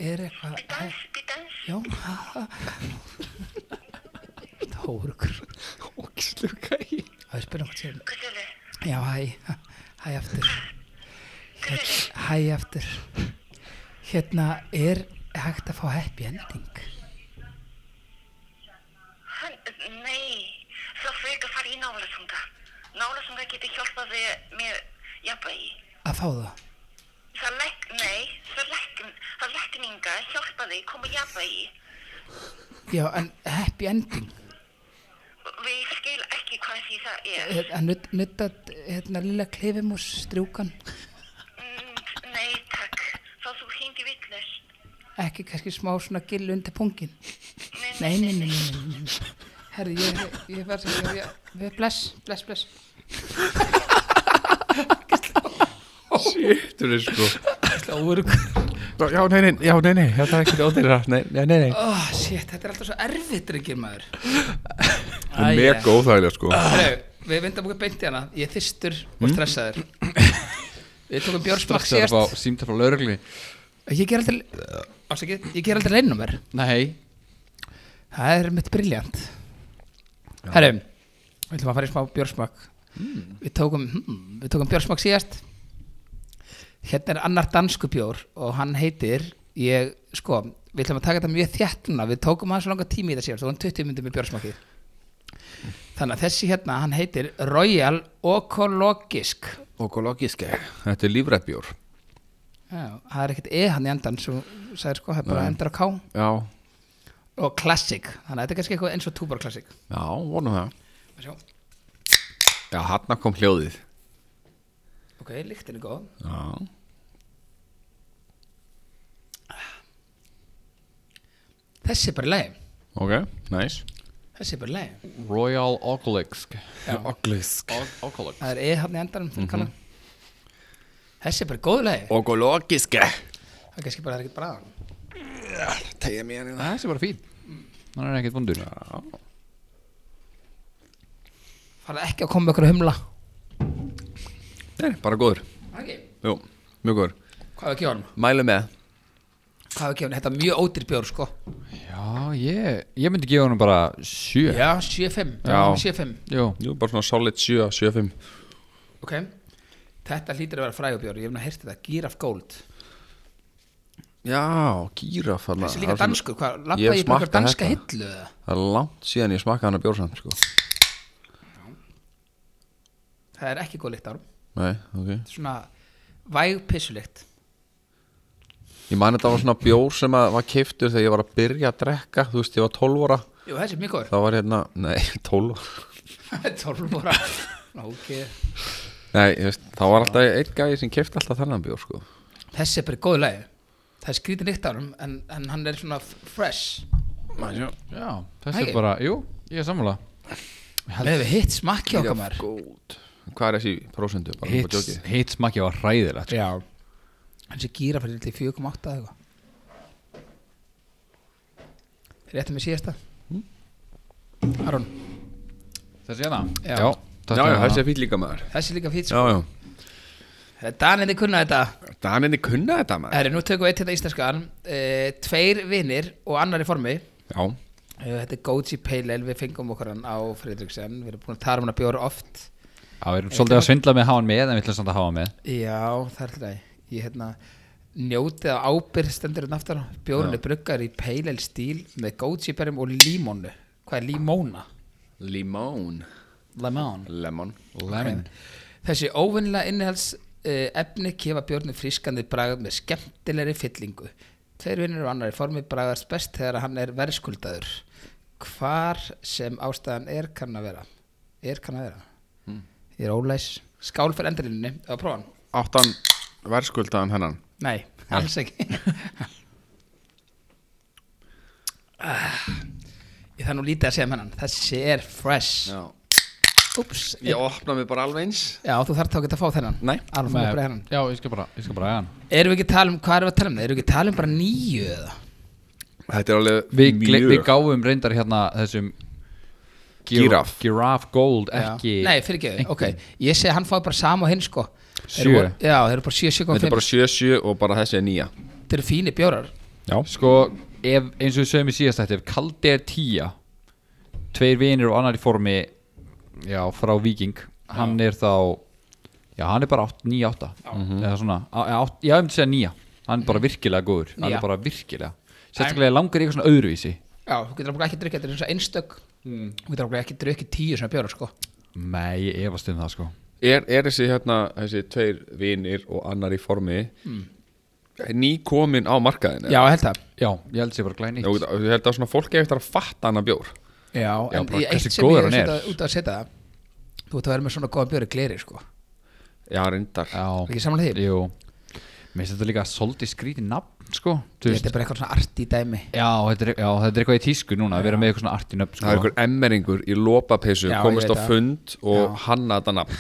er eitthvað... eh,
Dans, bidans.
Já Tórukur Ógislu gæi Það er spennum hvað sér
Hvað er það?
Já, hæ, hæ aftur Hér, Hæ aftur Hérna, er hægt að fá happy ending?
Hann, nei, það fyrir að fara í nálasunga. Nálasunga getur hjálpað við mér jafnvægi.
Að fá það?
Það legg, nei, það legg, það leggninga hjálpa þig koma jafnvægi.
Já, en happy ending
Við skil ekki hvað því það er.
Eh, Að nutt, nutta, hérna, lilla klefimús strjúkan
Mm, nei, takk. Þá þú hindi vittlust.
Ekki kannski smá svona gill undir pungin Nei,
Nei,
nei, nei, nei, nei, nei, nei. Herri, ég, ég var sem ég, ég, bless, bless, bless
Sýttur þið, sko
Það voru
Já, nei, nei, já, nei, nei, þetta er ekki ódýra Nei, nei, nei, nei
oh, Shit, þetta er alltaf svo erfitt, drengir maður
Það er mega óþægilega, sko
Herru, við vindum okkur beint í hana Ég er þyrstur
Mm.
og stressaður Við tókum bjórsmak
Strax er það
síðast
símt frá lögregli
Ég ger aldrei Ásakið, ég ger aldrei leinnúmer
Nei
Það er mitt briljant Herru, við ætlum að fara í smá bjórsmak Við tókum hmm, Við tókum bjórsmak síðast Hérna er annar dansku bjór Og hann heitir Ég, sko, við ætlum að taka þetta mjög þétt núna Við tókum hann svo langa tími í þetta síðast Það var 20 myndum með bjórsmakið Þannig að þessi hérna, hann heitir Royal Okologisk
Okologisk Þetta er lífrættbjór
Já, það er ekkert E hann í endan sem þú sagðir sko, það er bara endar á K
Já,
og Classic, þannig að þetta er kannski eitthvað eins og Tubar Classic
já, vonum það
Að sjá.
Já, hann kom hljóðið
Ok, líktin er góð
Já
Þessi er bara í lagi,
Ok, næs
þessi er bara í lagi
Royal Oculix
Okolisk
Oculix
Það er E hann í endanum
Mhm.
mm -hmm. Þessi er bara í góðu lagi
Okologisk
Það er kannski bara það er ekkert bara að hann
Tegja mér hérna
Þessi er bara fín Hann er ekkert vondur
Fara ekki að koma með okkur að humla
Nei, bara góður
okay.
Jú, mjög góður
Hvað er ekki honum?
Mælu með
Hvað er ekki honum? Þetta er mjög ódýr bjór sko
Já, ég Ég myndi gefa honum bara sjö
Já, 7-5
Já.
7-5,
Jú
Jú, bara svona solid 7, 7, 5
ok Þetta hlýtur að vera frægubjór, ég hef nú heyrt þetta Giraf Gold
Já, gíraf þarna.
Þessi er líka
Það er svona-
danskur, hvað,
Ég
lappa
hef
ég bara
smakkað
danska
þetta.
hillu eða?
Það er langt síðan ég smakkaði hann að bjórsamt sko.
það er ekki góð lykt á honum.
Nei, ok
svona væg pissulykt
Ég man þetta var svona bjór sem að var keiftur þegar ég var að byrja að drekka Þú veist, ég var 12 ára
Jú, þessi er mjög góður
Það var hérna, nei, 12 ára
12 ára ok
Nei, ég veist, þá var alltaf einn gæði sem keifti alltaf þennan bjór, sko
þessi er bara í góðu lagi það er skrítið lykt á honum en, en hann er svona f- fresh
Já, þessi
Æi.
er bara, jú, ég er sammála
við hefum hitt smakki okkar maður
góð Hvað er þessi prósendu? bara upp á
Hitt
djóki?
hit smakki var hræðilegt sko.
já þessi gýra fyrir til 4,8 eða eitthvað réttum við síðasta Aron
Þessi hérna?
Já.
Já, já, þessi
þessi
er fýll líka maður
þessi er líka fýt
Já,
sko.
já
Daninni kunna þetta
Daninni kunna þetta maður
Herri, nú tökum við eitt hérna íslenskan uh, Tveir vinnir og annar í formi uh,
Já,
Þetta er Goji Pale Ale, við fengum okkur hann á Fredriksen Við erum búin að tala um hann að bjóra oft
Já, við erum svolítið að svindla með háan með en við ætlum samt að hafa hann með
Já, það er þetta Ég hérna njótið að ábyrð stendur hérna aftur á. Bjórinn er bruggar í Pale Ale stíl með Goji berjum og límónu Hvað er límóna?
limón
Lemon
Lemon
Lemon
Þessi óvinnilega innihals uh, efni kefa björnum frískandi bragð með skemmtilegri fyllingu. Tveir vinnur og annar í formi bragðast best þegar hann er verðskuldaður. Hvar sem ástæðan er kann að vera. Er kann að vera. Ég er ólæs. Skál fyrir endurinnni. Eða prófa hann?
Áttan verðskuldaðan hennan
Nei, alls ekki. Ah, Ég þarf nú lítið að segja um hennan. Þessi er fresh.
Já
Úps.
Ég opna mig bara alveg eins
Já, þú þarf þá ekki að fá þennan.
Nei.
Alveg
Nei,
bara hennan.
Já, ég skal bara, ég skal bara eiga hann
Erum við ekki að tala um, hvað erum við að tala um það? Erum við ekki að tala um bara nýju eða?
Þetta er alveg
Við, gle-
mjög
við gáum reyndar hérna þessum
Gíraf.
Giraffe Gold,
Já.
ekki
Nei, fyrir ekki, ok Ég segi að hann fái bara sama og hinn sko Þeir
Sjö.
voru- Já, þeir eru bara 7, 7
Þetta er bara 7-7 og bara þessi er nýja
Þeir eru fínir bjórar
Já
Sko, ef, eins og við sögum í síðast þetta Ef kaldi er tíja Tveir vinir og annar í formi Já, frá Viking Hann er þá Já, hann er bara 9-8 Eða svona á- eða átt- Já, ég myndi segja 9 Hann er bara virkilega góður Hann
Nýja.
er bara virkilega Sérstaklega langar í eitthvað svona öðruvísi
Já, þú getur okkur ekki að drukja, þetta er eins og einstök
Hmm.
Þú getur okkur ekki að drukja tíu svona bjórar sko
Nei, ég efast um það sko
er, er þessi hérna Þessi tveir vinir og annar í formi Ný komin á markaðin
Já, ég held það
Já, ég held sér bara glæni
Ég held að svona fólk eigi eftir að fatta hana bjór
Já,
Já,
en
bara
í
hversu
eitt sem ég
góður
er
hann er.
setja- út að setja það Þú ert að vera með svona góðan bjóri gleri sko
Já, reyndar
Já
Ekki sammála því?
Jú Mér finnst þetta líka svolítið skrítið nafn sko Þú
Þetta
veist
er bara eitthvað svona arti dæmi
Já, þetta er, já, þetta er eitthvað í tísku núna að vera með eitthvað svona arti nöfn
Það er
sko.
einhver emmeringur í lopapeysu
Já,
komist
ég
á
veit það.
fund og hanna þetta nafn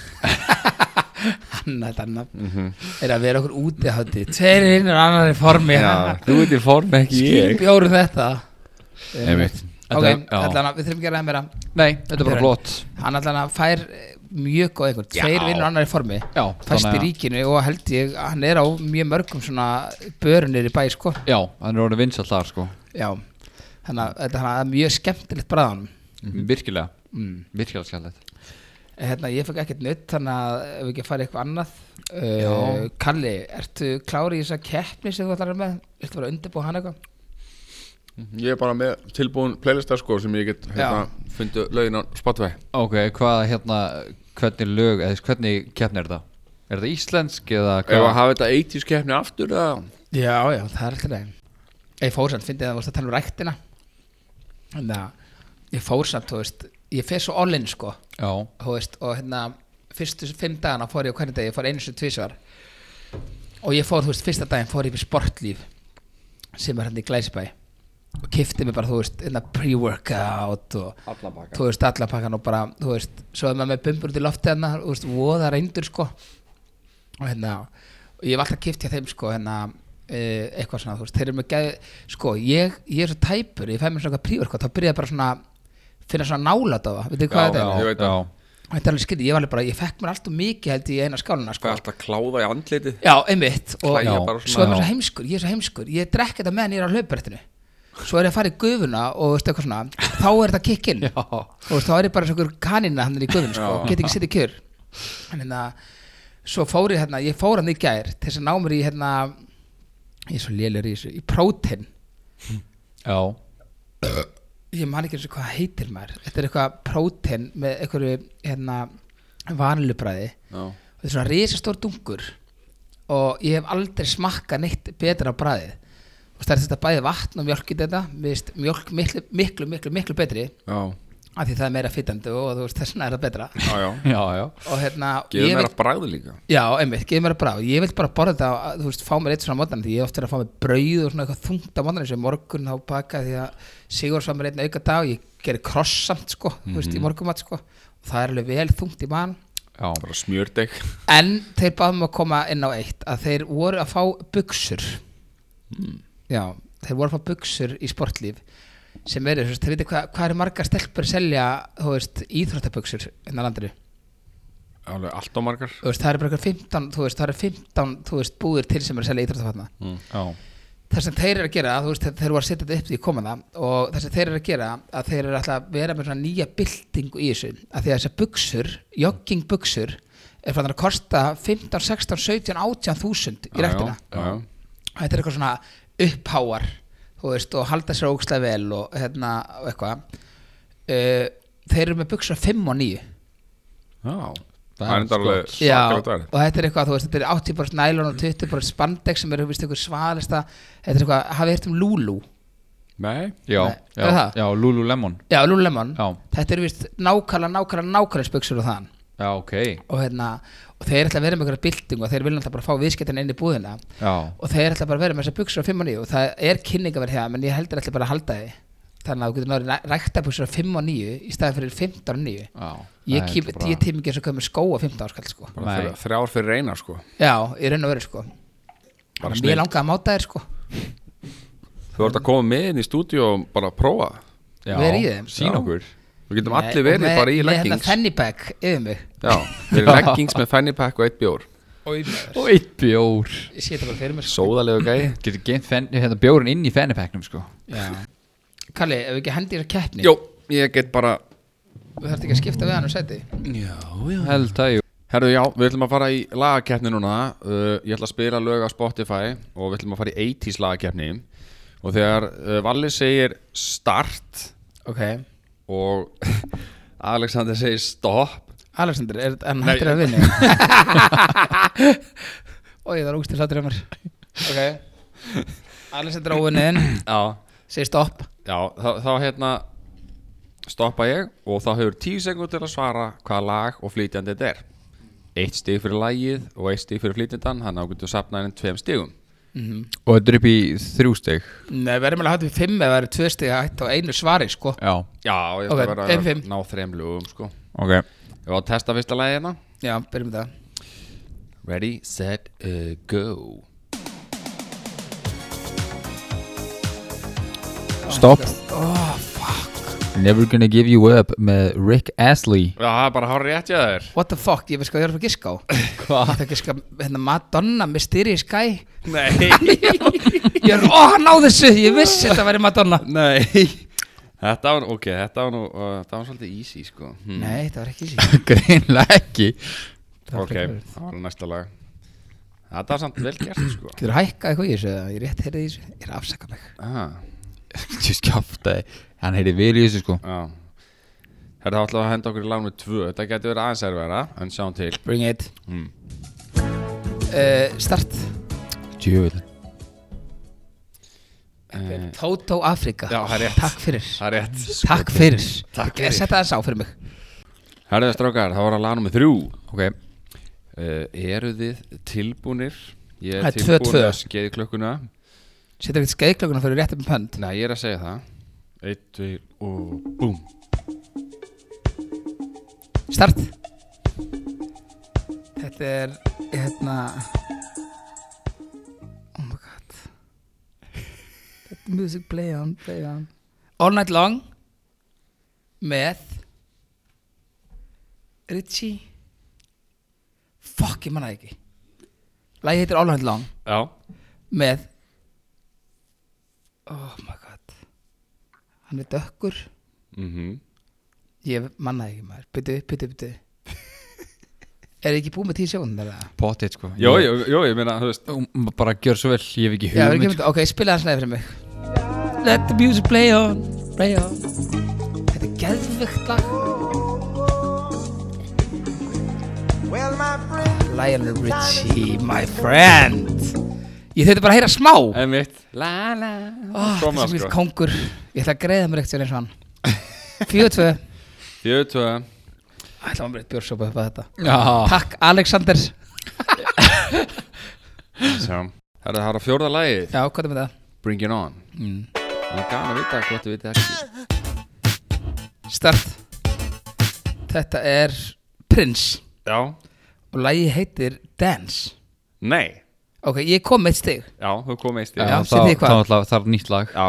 Hann að þarna
Mhm.
Er að vera okkur úti að höndi Tveir hinn er annar í formi
þú veit í form ekki
Skýrum bjóru þetta
Einmitt.
Ok,
Þetta- já.
allan að við þurfum ekki að ræða meira
Nei, þetta er
Þetta
bara
er-
flott
hann allan að fær eh, mjög góð einhvern, tveir vinnur annar í formi
Já,
fæst í
þannig að-
ríkinu og held ég að hann er á mjög mörgum svona börunir í bæ sko
Já, hann er orðin vinsall þar sko
já, þannig að þetta hann er mjög skemmtilegt bræðanum
Mhm. Virkilega Virkilega skjaldið
hérna ég fekk ekkert nutt þannig að ef við ekki að fara í eitthvað annað uh, Kalli, ertu klári í þessa keppni sem þú ætlar að vera með, viltu vera að undirbúa hann eitthvað
Mhm. Ég er bara með tilbúin playlista sko sem ég get hérna, fundið lögin á Spotify
Ok, hvað hérna Hvernig lög, eða hvernig keppni er þetta? Er þetta íslensk eða
Ef að
hvað?
hafa þetta 80s keppni aftur eða?
já, já, það er alltaf legin ég fór samt, fyndið að það varst að tala um ræktina þannig að ég fór samt, þú veist, ég fer svo all in sko
Já,
þú veist, og hérna fyrstu fimm dagana fór ég á hvernig dag ég fór einu sem tvísvar og ég fór, þú veist, fyrsta daginn fór ég fyrir sportlíf sem er hérna í Glæsibæ og kifti mig bara, þú veist, hérna pre-workout og
Allabaka.
þú veist, allapakkan og bara, þú veist, svo er maður með bumbur út í loftið hérna, þú veist, voða reyndur sko og hérna og ég hef alltaf kift hjá þeim sko hérna eh, eitthvað svona, þú veist, þeir eru með geð sko, ég, ég er svo tæpur, ég fæ mér svona eitthvað príverkot, þá byrja ég bara svona finna svona nálat á það, veitir hvað þetta er?
Ég veit
já,
það.
Þetta er alveg skrítið, ég var alveg bara, ég fekk mér alltaf mikið held ég í eina skáluna
Fæ
sko.
alltaf kláða í andliti
Já, einmitt og
Hlæja
Já.
bara
svo er
svona
mér svo heimskur, ég er svo heimskur Ég drekk þetta meðan ég er á hlaupbrettinu Svo er ég að fara í gufuna og veist eitthvað svona Þá er þetta kikk inn
já.
og veist, þá er ég bara svona kanina hann í gufun sko, get ekki sitt í kjör en hérna, svo fór ég hérna ég fór hann í gær til þess að ná mér í hérna ég er svo lélur í þessu, í prótin
já.
ég man ekki eins og hvað það heitir maður þetta er eitthvað prótein með einhverju hérna, vanilubræði
Já.
og þetta er svona risastór dunkur og ég hef aldrei smakkað neitt betra á bræðið og það er þetta bæði vatn og mjölk í þetta Mér finnst mjölk miklu, miklu, miklu, miklu betri
Já.
af því það er meira fytandi og þú veist þessna er það betra
Já, já.
já, já,
og hérna
Geðum
ég
mér
vil-
að bræði líka.
Já, einmitt, geð mér að brá Ég vil bara borða þetta, að, þú veist, fá mér eitt svona mótan Því ég hef oft verið að fá mér brauð og svona eitthvað þungt á mótan eins og í morgun þá baka því að Sigur sá mér einn auka dag Ég gerir krossamt, sko, þú veist, í morgumat, sko og Það er alveg vel þungt í mann
já,
Bara smjördeg.
En þeir báðum að koma inn á eitt Að þeir voru að fá buksur Já, þeir voru að fá buksur í sportlíf Sem eru, þú veist, þeir veitir hvað, hvað eru margar stelpur selja, þú veist, íþróttabuxur innan landinu
Alveg allt á margar.
Þú veist, það eru bara eitthvað 15, þú veist, það eru 15, þú veist, búðir til sem er að selja íþróttafatna
já,
það sem þeir eru að gera, þú veist, þeir þeir voru að setja þetta upp því komana og það sem þeir eru að gera að þeir eru alltaf að vera með svona nýja byltingu í þessu, að því að þessar buksur jogging buksur er fannar að kosta 15, 16, 17, 18 þúsund í rektina
Já, já.
þetta er eitthvað svona uppháar þú veist, og halda sér ógstlega vel og hérna, og eitthvað uh, þeir eru með buksur 5 og 9
Já.
Það
Það
er
er enda alveg
Já,
svakalega
og
dæri.
þetta er eitthvað, þú veist, þetta er 80% nælon og 20% spandex sem eru, þú veist, eitthvað svaðalista þetta er eitthvað, hafið þér um Lulu
Nei.
já,
Nei, er
já,
það?
já Lululemon,
Já, Lululemon
Já.
Þetta eru vist nákvæmlega, nákvæmlega, nákvæmlega spuksur og þann
já, ok
og, hérna, og þeir ætla að vera með einhverja bylting og þeir vilja alltaf bara fá viðskiptin inn í búðina
já,
og þeir ætla bara að vera með þessar buksur á 5 og 9 og það er kynningaverð hér, menn ég heldur ætla bara að halda því þannig að þú getur náður rækta buksur á 5 og 9 í staðin fyrir 15 og 9
já
Ég,
Nei,
kýp,
þetta er
ég tími ekki eins og komið skó á 15 áskall sko.
Bara
Nei.
fyrir- Þrjár fyrir eina, sko.
Já, í raun og veru sko.
Bara
Mér
snilld.
langaði að máta þér sko.
Þú ert að koma með inn í stúdíu og bara prófa.
Já,
Við erum í þeim.
Sýn
Já.
okkur
Við getum
Nei,
allir verið
og
bara í
Með hérna
leggings.
fanny bag yfir mig
Já, verið leggings með fanny pack og eitt bjór.
Ég
Og eitt bjór
sé þetta bara fyrir mér sko.
Sóðalegu gæi.
Getur geimt fenn- hérna, bjórin inn í fennipeknum sko
Kalli, ef við ekki hendi þér að keppni
Jó, ég get bara
Þú þarft ekki að skipta við hann um seti
Já, já
Held að jú
Herðu, já, við ætlum að fara í lagakeppni núna uh, Ég ætla að spila lög á Spotify og við ætlum að fara í 80s lagakeppni og þegar uh, Valli segir start
Ok
og Alexander segir stopp
Alexander, er hann
Nei,
hættir að vinni? Ói, það er úgstil hlátur hjá mér Ok Alexander óvinniðin
Já,
Segir stopp
já þá, þá hérna stoppa ég og þá hefur 10 sekund til að svara hvaða lag og flytjandi þetta er Eitt stig fyrir lagið og eitt stig fyrir flytjandan þannig að þú getur sapnað henni tveim stigum
Og þetta er upp í þrjú steg
Nei, verðum alveg að hættu við fimm eða verður tvö stig að hættu á einu svari, sko
Já,
Já, ég
Ok,
ætla að
ein
vera
fimm.
að ná þreim lögum sko
ok
Ég var að testa fyrsta lagið hérna
Já, byrjum við það
Ready, set, uh, go
Stopp Oh, Never gonna give you up með Rick Astley
Já, það er bara hár rétt ég þér
What the fuck, ég veist hvað ég er að fara að giska á
Hvað?
Það er giska, hérna Madonna, Mysterious Guy
Nei
Ég er, ó, hann á þessu, ég vissi þetta væri Madonna
Nei Þetta var, ok, þetta var nú, uh, þetta var svolítið easy sko hm.
Nei, þetta var ekki sí
Greinlega ekki
Það var
Ok,
frekar erfitt.
það var næsta lag Þetta var samt vel gert sko
Getur hækkað eitthvað í þessu eða ég rétt heyrði í þessu? Ég er að afsaka mig.
ah,
Just kjáftaði Hann heiti vel í þessu sko
Já Þetta ætlaði að henda okkur í lag með tvö Þetta getur verið aðeins erfæra, en sjáum til
Bring it.
Hmm.
Uh, start.
Eh.
Djöfull
uh,
Toto Afrika.
Já, það er rétt.
Takk fyrir.
Það er rétt
Takk fyrir.
Takk
Ég
fyrir.
setja það sá fyrir mig.
Herðu strákar, það var að laga með þrjú
Ok
uh, Eru þið tilbúnir? Ég
Það
er
er tvö,
tilbúin
tvö.
að skeiði klukkuna
Setja ekkert skeiðklökunum fyrir rétt um pönd.
Nei, ég er að segja það Eitt, tveir og búm
Start. Þetta er, hérna... Oh my god. Let the music play on, play on. All night long. Með. Richie. Fuck, ég manna ekki. Lægi heitir All night long.
Já
Með. Oh my god. Hann er dökkur.
mm
Ég manna ekki maður. Byttu, byttu, byttu. er ég ekki búið með tíu sjónundar eða?
Pottit sko
Jó, jó, jó, ég meina, þú veist
Ég- Bara gjör svo vel Ég hef ekki
Já, við
hugmynd
gerum
sko.
þetta, ok, spila það slæði fyrir mig Let the music play on, play on Þetta er geðvikt lag
Well, my friend,
Lionel Richie, my friend Ég þurfti bara að heyra smá Ah, oh,
Einmitt La la
Það
Koma
sem við
sko
kongur Ég ætla að greiða mér eitthvað eins og hann Fjóðu tvö
Fjöðu tvö
Ætla maður eitt bjórsópa upp að þetta
Já,
Takk Alexander Já,
Sjá Það er það er á fjórða lagið
hvað er með það?
Bring it on
Mm.
Það er gaman að vita hvort þú vitið ekki
Start Þetta er Prince
Já
Og lagi heitir Dance
Nei
Ok, ég kom með eitt stig
Já, þú kom eitt stig
Já,
já þá,
sem þið
þá,
hvað?
þá þarf nýtt lag
Já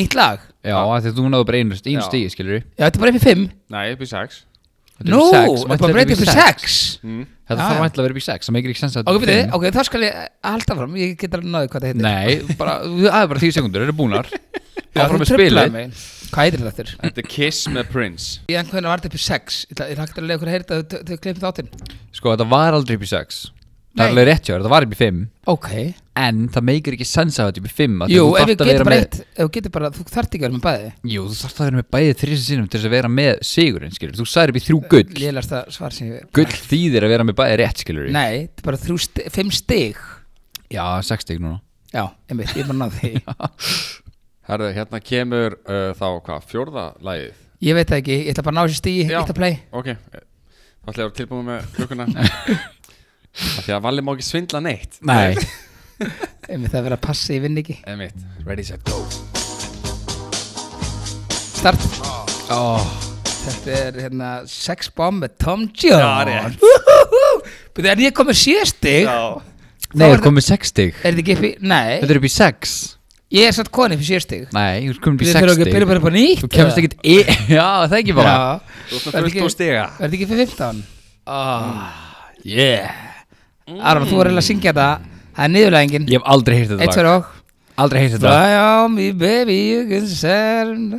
Nýtt lag
Já, af því að þú náðu bara einu
Já.
stíð, skilur við
Já, þetta er bara upp í 5
Nei, upp í sex
Nú, þetta er bara breytið upp í 6
Þetta
Já,
þarf
já.
ætla að vera upp í 6, það meikir ekki sens að
Ok,
þetta er
byrju,
fimm.
ok, þá skal ég halda fram Ég get alveg náði hvað það heitir
Nei, bara, það er bara 10 sekundur, þetta er búnar
Já, þú
Áfram með
truflaði
spilið.
mig. Hvað heitir þetta aftur?
Þetta er Kiss með Prince
Ég hann hvernig var þetta upp í 6 Ég ætla ekki að lega ykkur að heyrta þau þau klippið þáttinn
Sko, þetta var aldrei upp í 6 Það er
Nei.
alveg rétt hjá, þér, þetta var upp í 5
Ok
En það meikir ekki sens að þetta er upp í 5
Jú, ef við getum bara eitt Ef við getum bara, þú þarft ekki að vera með bæði
Jú, þú þarf að vera með bæðið þrísa sinnum til þess að vera með sigurinn, skilur Þú særi upp í þrjú gull
Lélast það svar sem ég
Gull þýðir að vera með bæðið rétt, skilur
Nei, þetta er bara þrjú, sti- fimm stig
Já, 6 stík núna
Já, einmitt, ég bara náði því
Herðu, hérna kemur uh, þá hvað, fjórða lagið
Ég veit það ekki, ég ætla bara að ná þessu stíi, ég
Já.
ætla að play
Ok, þá ætla ég að vera tilbúin með klukkuna Af því að Valli má ekki svindla neitt
Nei,
Einmitt, það er verið að passa, ég vinn ekki
Eða mitt, ready, set, go
Start Þetta er hérna Sex Bomb með Tom
Já,
Jones
rétt.
Byrðu, en ég kom með sjö stig
nei,
er
það komið 6 stík
Er þetta ekki upp í, nei
Þetta er upp í 6
Ég er satt konið fyrir sjö stig
Nei, þú komið upp í
Við
6
þurfum ekki að byrja
stík
bara upp á nýtt
Þú kemst ekkit í Já, það ekki bara
Þú ert með
Verður ekki-
fullt og stiga
Verður ekki fyrir 15
Yeah
Mm.
Aron, þú voru eiginlega að syngja þetta Það er niðurlæðingin
Ég hef aldrei heyrt þetta
Eitt fyrir og
Aldrei heyrt þetta
Fly on me baby you can send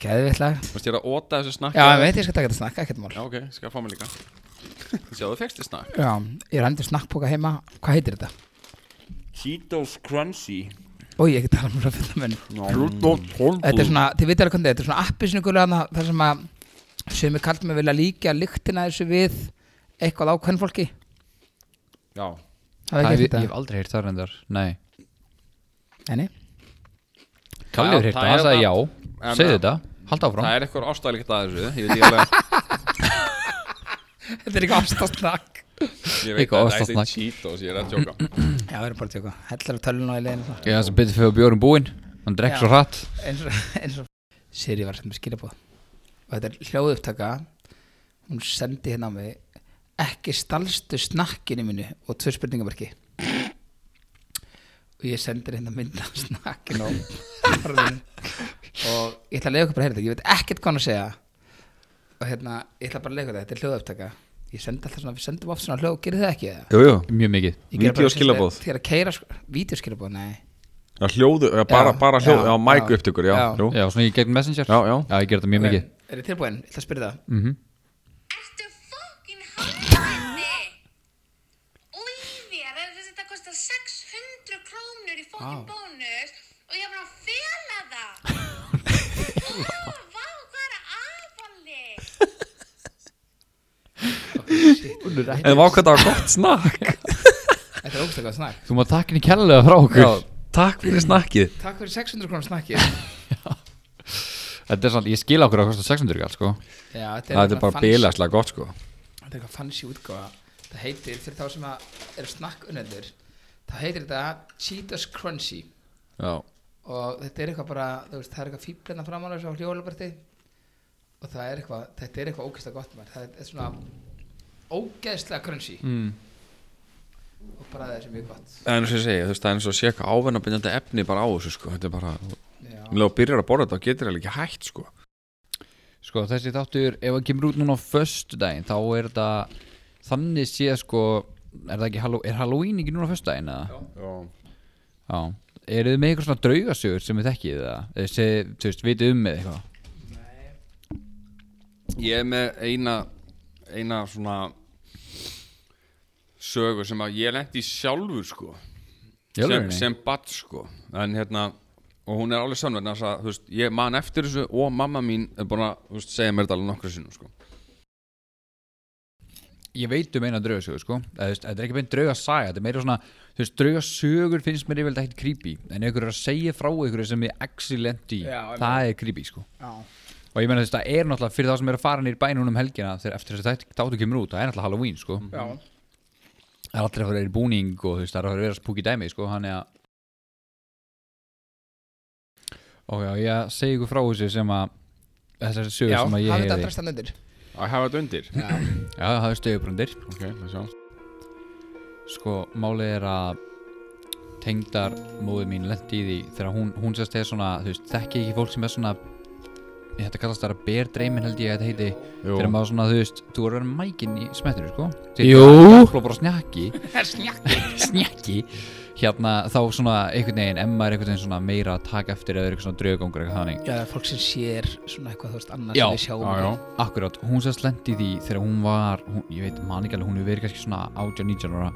Gæðvitt lag
Þú veist ég er að óta þessu snakki
Já, ég veit, ég skal taka þetta snakk, ekkert mál
Já, ok, skal fá mig líka Sjáðu fegst þið snakk
Já, ég er hendur snakkpoka heima Hvað heitir þetta?
Cheetos Crunchy
Ó, ég get tala um að finna menn
Rudolf Holmblú
Þetta er svona, þið veitir alveg hvernig þetta er svona appisnugul þar sem að sumi kallt mig vilja líkja lyktina þessu við eitthvað á hvern fólki
Já,
Það er
Ég
ekki
ég hef
þetta
aldrei heyrt það reyndar Nei
Nei, nei.
Kalli
Já,
hefur heyrt
það
það Hann
er
sagði já
það. En,
Segðu
ja.
þetta Halda áfram
það er eitthvað ástæðilegt að þessu Ég veit ég alveg
Þetta er ekki ástofnakk
Ég veit
Eitthvað
að það
ástasnakk.
er Cheetos, ég er að tjóka
Já, við erum bara að tjóka Hellar af tölun og í leiðinu
Já, það sem betur fyrir bjórum búinn Hann drekk
Já.
svo hratt
eins og, eins og Siri var sem skilabóð og þetta er hljóðupptaka hún sendi hérna á mig ekki stalstu snakkinu mínu og tvö spurningamarki og ég sendir hérna mynda snakkinu og, og ég ætla að leiða okkur bara að heyra þetta ég veit ekkert hvað hann að segja og hérna, ég ætla bara að leiða okkur þetta, þetta er hljóðupptaka ég sendi alltaf svona, við sendum oft svona hljóð gerir þið ekki það?
Jú, jú
Mjög mikið
Ég geri bara
Vídeóskilaboð.
fyrst Þegar að keira, sko, vídeoskilabóð, nei
Já, hljóðu, já,
bara-
bara,
bara hljóð- já, mic upptökur, já, jú.
Já, svona ég gegn messenger
Já, já.
ég ger þetta mjög mikið
Er þið tilbúin? Ég ætla að spyrja það
Ertu fokkin hálfvinni? Lífið, þetta kostar 600 krónur í fokkin bónus og ég var að fela það. Ó, vá, hvað er aðvalli?
En vákvæmt að gott snakk
Þetta er ógæslega snakk
Þú maður takkinni kærlega frá okkur
Takk fyrir snakkið
Takk fyrir 600 krónar snakki
Þetta er svona, ég skil okkur að kosta 600 galt sko
Já, þetta
Það er
eitthvað
bara
fancy-
bilagslega gott sko
Þetta er eitthvað fancy útgáfa Það heitir, fyrir þá sem að eru snakkunendur Það heitir þetta Cheetos Crunchy
Já
Og þetta er eitthvað bara, þú veist, það er eitthvað fíblina framan á þessu á hljóðluberti Og það er eitthvað, þetta er eitthvað ógæslega gott mér Það er svona ógæslega crunchy mm. Og bara það er sem mjög gott
Það er eins og ég segi, þú veist, það er eins og að sé eitthvað ávennabindandi efni bara á þessu, sko, þetta er bara um
Já,
leið og byrjar að borða þetta og getur það ekki hægt, sko
Sko þessi þáttur, ef það kemur út núna á föstudaginn þá er þetta þannig séð sko er, það ekki, Hallow- er Halloween ekki núna á föstudaginn eða?
Já,
Já Eru þið með eitthvað svona draugasögur sem við þekkið það? Eða sé, þú veist, vitið um með eitthvað?
ég er með eina eina svona sögu sem að ég lendi sjálfur, sko
Í
sem,
alvörunni?
sem badd, sko en hérna, og hún er alveg sannverð þannig að, þú veist, ég man eftir þessu og mamma mín er búin að, þú veist, segja mér þetta alveg nokkru sinnum, sko
ég veit um eina draugasögu sko Eða, þú veist, þetta er ekki beint draugasaga, þetta er meira svona þú veist, draugasögur finnst mér yfirlega ekkert creepy en ykkur er að segja frá ykkur sem ég excellent í,
Já, ég
það er creepy sko
Já.
og ég meina þú veist, það er náttúrulega fyrir þá sem er að fara nýr bænum um helgina þegar eftir þess að þetta tátu kemur út, það er náttúrulega Halloween sko
Já.
það er allir að fara í búning og þú veist, það er að fara að vera spooky dæmi sko, hann er að og já, ég segi ykkur frá þessu sem að þessar sögur
Já,
sem að
hafið
ég
þetta
hefði
drast hann undir
Að hafa þetta undir
já, það er stöðubrundir
Ok, það sjá
sko, málið er að tengdar móður mín lendi í því þegar hún, hún sérst er svona, þú veist, þekki ekki fólk sem er svona þetta kallast það að ber dreimin held ég að þetta heiti
Jú.
þegar maður svona, þú veist, þú er verið mækinn í smettinu, sko
Jú.
Það er bara snjakki
Snjakki
snjakki hérna þá svona einhvern veginn emma er einhvern veginn svona meira að taka eftir eða er eitthvað svona draugangur eitthvað þannig
Já, það er fólk sem sér svona eitthvað, þú veist, annars
Já,
sem við sjáum
já, já.
ekki.
akkurát, hún sérst lendi í því þegar hún var, hún, ég veit man ekki alveg hún hefur verið kannski svona 18-19 ára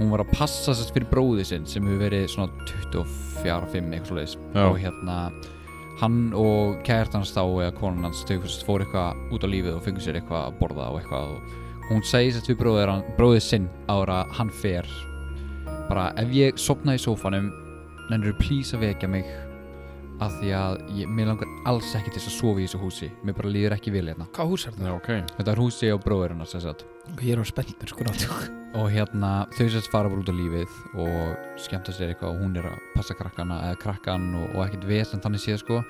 hún var að passa sérst fyrir bróði sinn sem hefur verið svona 24-5 eitthvað svoleiðis
Já.
og hérna hann og kært hans þá eða konan hans þau sérst fór eitthvað út á lífið og fengur sér eitthvað að borða og eitthvað og hún segi sérst fyrir bróðir hann, bróðið sinn ára hann fer bara ef ég sopna í sófanum nennir þú please að vekja mig af því að ég, mér langar alls ekki til þess að sofa í þessu húsi mér bara líður ekki vel hérna
Hvað hús er það?
Já, ok
þetta er húsi á bróðurinn sem sagt
Ég er á spenntur, sko, náttúrulega
og hérna þau sérst fara bara út á lífið og skemmta sér eitthvað og hún er að passa krakkana eða krakkan og, og ekkert vesen þannig séð sko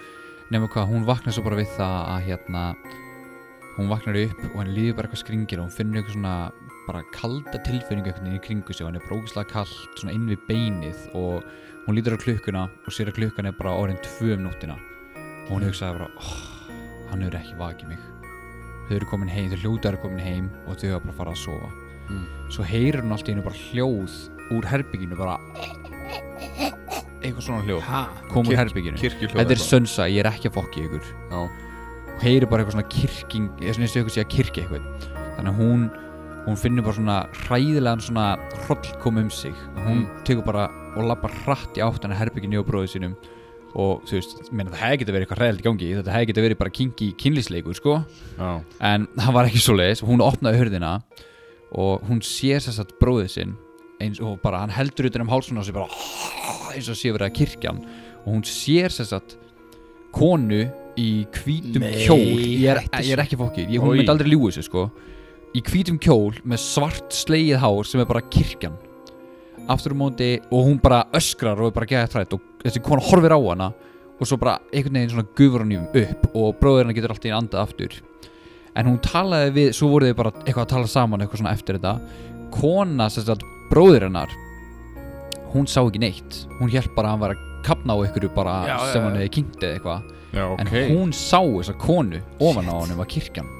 nema hvað hún vaknar svo bara við það að hérna hún vaknar upp og henni líður bara eitthvað skringil og hún finnur eitthvað svona bara kalda tilfinningu einhvern veginn í kringu sig og henni er brókislega kalt svona inn við beinið og hún lítur á klukkuna og sér að klukkan er bara orðin tvö um nóttina og hún hugsaði bara oh, hann hefur ekki vakið mig þau eru komin heim, þau hljóta eru komin heim og þau hafa bara farið að sofa svo heyrir hún allt í hennu bara hljóð úr herbygginu bara eitthvað svona hljóð
Ha?
kom úr
Kirk-
herbygginu
kirkjuhljóð
þetta er
eitthvað.
sönsa, ég er ekki að fokki ykkur
Já.
og heyrir bara eitthvað svona kirking eða svona eins og ykkur sé að kirkja eitthvað þannig að hún, hún finnur bara svona hræðilegan svona hroll koma um sig og hún tekur bara og lappar hratt í áttan að herbygginu og bróðu sínum og þú veist, menn það hefði getið verið eitthvað hræðilegt í gangi þetta hefði getið verið bara kingi kynlísleikur sko
Já.
en það var ekki svo leiðis hún opnaði hurðina og hún sér þess að bróðið sinn eins og bara hann heldur utan um hálsuna og sér bara eins og sé verið að kirkja hann og hún sér þess að konu í hvítum
Nei,
kjól ég er,
hættu
ég er ekki fokkið, ég, hún
Oj.
myndi aldrei ljúi þessu sko í hvítum kjól með svart slegið hár sem er bara kirkjan aftur á móti og hún bara öskrar og er bara geða þrætt og þessi kona horfir á hana og svo bara einhvern veginn svona gufur hann yfir upp og bróður hennar getur alltaf einn andað aftur en hún talaði við, svo voru þið bara eitthvað að tala saman eitthvað svona eftir þetta kona, sem sagt, bróður hennar hún sá ekki neitt hún hjælt bara að hann var að kapna á ykkur bara
Já, já,
sem
já.
hann hefði kynnt eða eitthvað
Já, ok
en hún sá þessa konu ofan á honum var kirkjan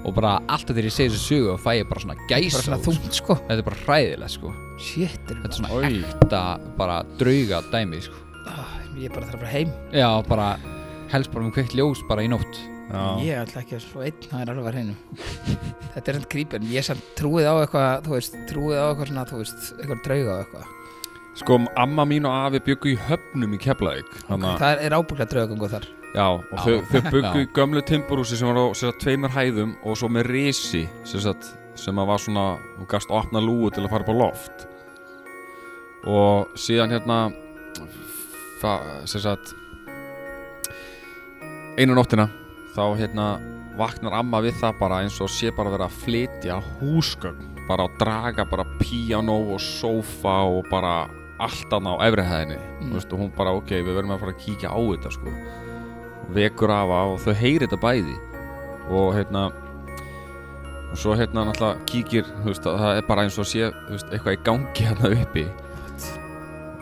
og bara alltaf þegar ég segi þessu sögu og fæ ég bara svona
Bara
gæsa
svona þungt, sko
þetta er bara hræðilegt sko
Shit, er
þetta er svona
Oj.
ekta bara drauga dæmi sko
Ah, Ég bara þarf að fara heim
já bara helst bara með kveikt ljós bara í nótt
Já.
Ég ætla ekki að svo einn, það er alveg að vera hreinu Þetta er samt grípin, ég samt trúið á eitthvað, þú veist, trúið á eitthvað svona, þú veist, eitthvað drauga á eitthvað
Sko, amma mín og afi byggu í höfnum í Keflavík Þannig að
Það er ábygglega draugangu þar
Já, og þau, þau byggu í gömlu timburhúsi sem var á sem sagt, tveimur hæðum og svo með risi sem, sagt, sem að var svona og gast opna lúu til að fara upp á loft og síðan hérna fa- sem sagt einu nóttina þá hérna vaknar amma við það bara eins og sé bara verið að flytja húsgögn bara að draga bara píanó og sófa og bara allt annað á efri hæðinni
Mm.
mm. veist, og hún bara ok, við verðum að fara að kíkja á þetta sko vekur afa og þau heyri þetta bæði og hérna og svo hérna náttúrulega kíkir þú veist, að það er bara eins og sé þú veist, eitthvað í gangi hérna uppi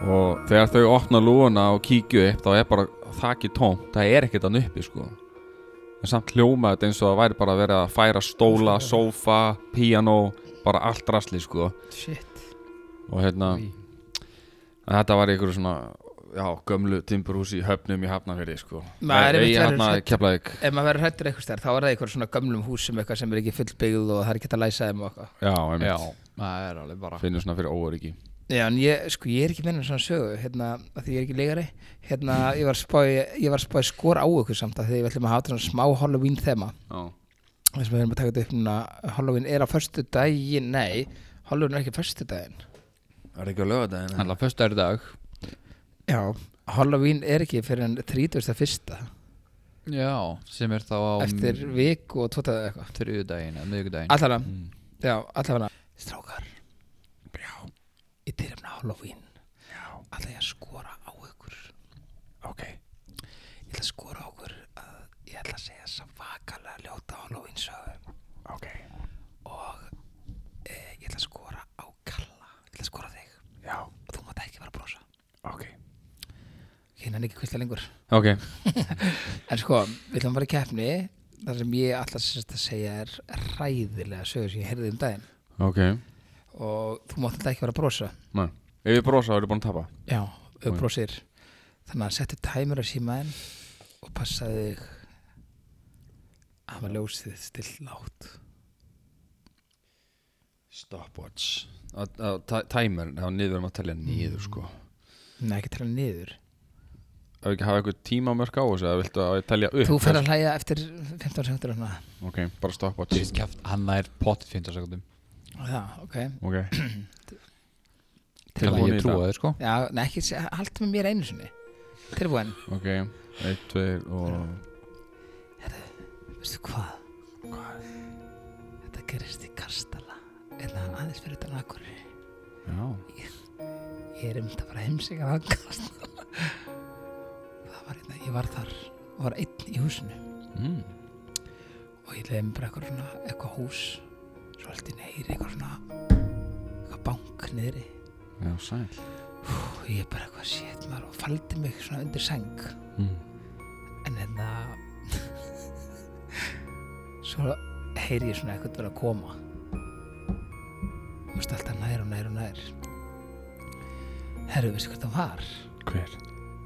og þegar þau opna lúuna og kíkju upp þá er bara þakið tómt, það er ekkert hann uppi sko en samt hljóma þetta eins og það væri bara verið að færa stóla, sófa, píanó bara allt rasli sko
Shit
og hérna
Í.
en þetta var einhverju svona já, gömlu timburhúsi í höfnum í Hafnafjörði sko
Maður er
Nei, í
einmitt verið
hérna
hrædd.
Keflavík
Ef maður verður hrættur eitthvað stær, þá er það eitthvað svona gömlum húsum eitthvað sem er ekki fullbyggð og það er ekki hægt að læsa þeim og eitthvað
já, einmitt
það er alveg bara
finnur svona fyrir óöryggi
Já, en ég, sko, ég er ekki meina svona sögu, hérna, að því ég er ekki leikari Hérna, ég var spáði, ég var spáði skor á ykkur samt að því við ætlum að hafa svona smá Halloween þema
já,
og þess að við erum að taka þetta upp núna Halloween er á förstu daginn, nei Halloween er ekki á förstu daginn
Það er ekki að löga þetta
Þannig að fyrst er dag
Já, Halloween er ekki fyrir en 31.
Já, sem er þá á
eftir viku og tvotaðu eitthvað
þriðudaginn eða miðugudaginn
Allana, já, allana Mm. Strákar, já Í tilefna Halloween Já Alla ég að skora á ykkur Ok Ég ætla að skora á ykkur að Ég ætla að segja svakalega ljóta Halloween sögum Ok Og e, ég ætla að skora á Kalla Ég ætla að skora á þig Já Og þú mátt ekki vera að brosa
Ok
Ég nenni ekki kvistlega lengur
Ok,
En sko, við ætlum að fara í keppni Það sem ég ætla sem sagt að segja er ræðilega sögur sem ég heyrði um daginn
Ok
og þú mátt alltaf ekki vera að brosa
Nei. Ef ég brosa, þá eru búin að tapa
já, ef þú brosir þannig að settu tæmur á símaðin og passaðu þig að hafa ljósið still látt
Stopwatch Að- að tæ- Timer, þá niður erum að telja niður sko
Nei, ekki tala niður
Ef ekki hafa eitthvað tímamörk á þessu eða viltu að ég telja upp
Þú fer að hlæja eftir 15 sekundur og svona
Ok, bara stopwatch
kæft, hann er potið 15 sekundum
Já, ok
Ok
Til að
Tilbúin í
ég trúa
þetta.
þér sko
Já, nei, ekki, haldt með mér einu sinni Tilbúin,
Ok, 1, 2 og
veistu hvað? Hvað? Þetta gerist í Kastala eða aðeins fyrir utan Akurri
Já
ég er um þetta bara heimsíkar aðgast það var einna, ég var þar og var einn í húsinu
Mm.
og ég leiði mér bara eitthvað svona eitthvað hús svo allt í neyri eitthvað svona eitthvað bank niðri
Já, sæl
og ég bara eitthvað sétt maður og faldi mig svona undir seng
Mm.
en hérna svo heyri ég svona eitthvað vera að koma þú veist alltaf nær og nær og nær herru, veistu hvað það var?
Hver?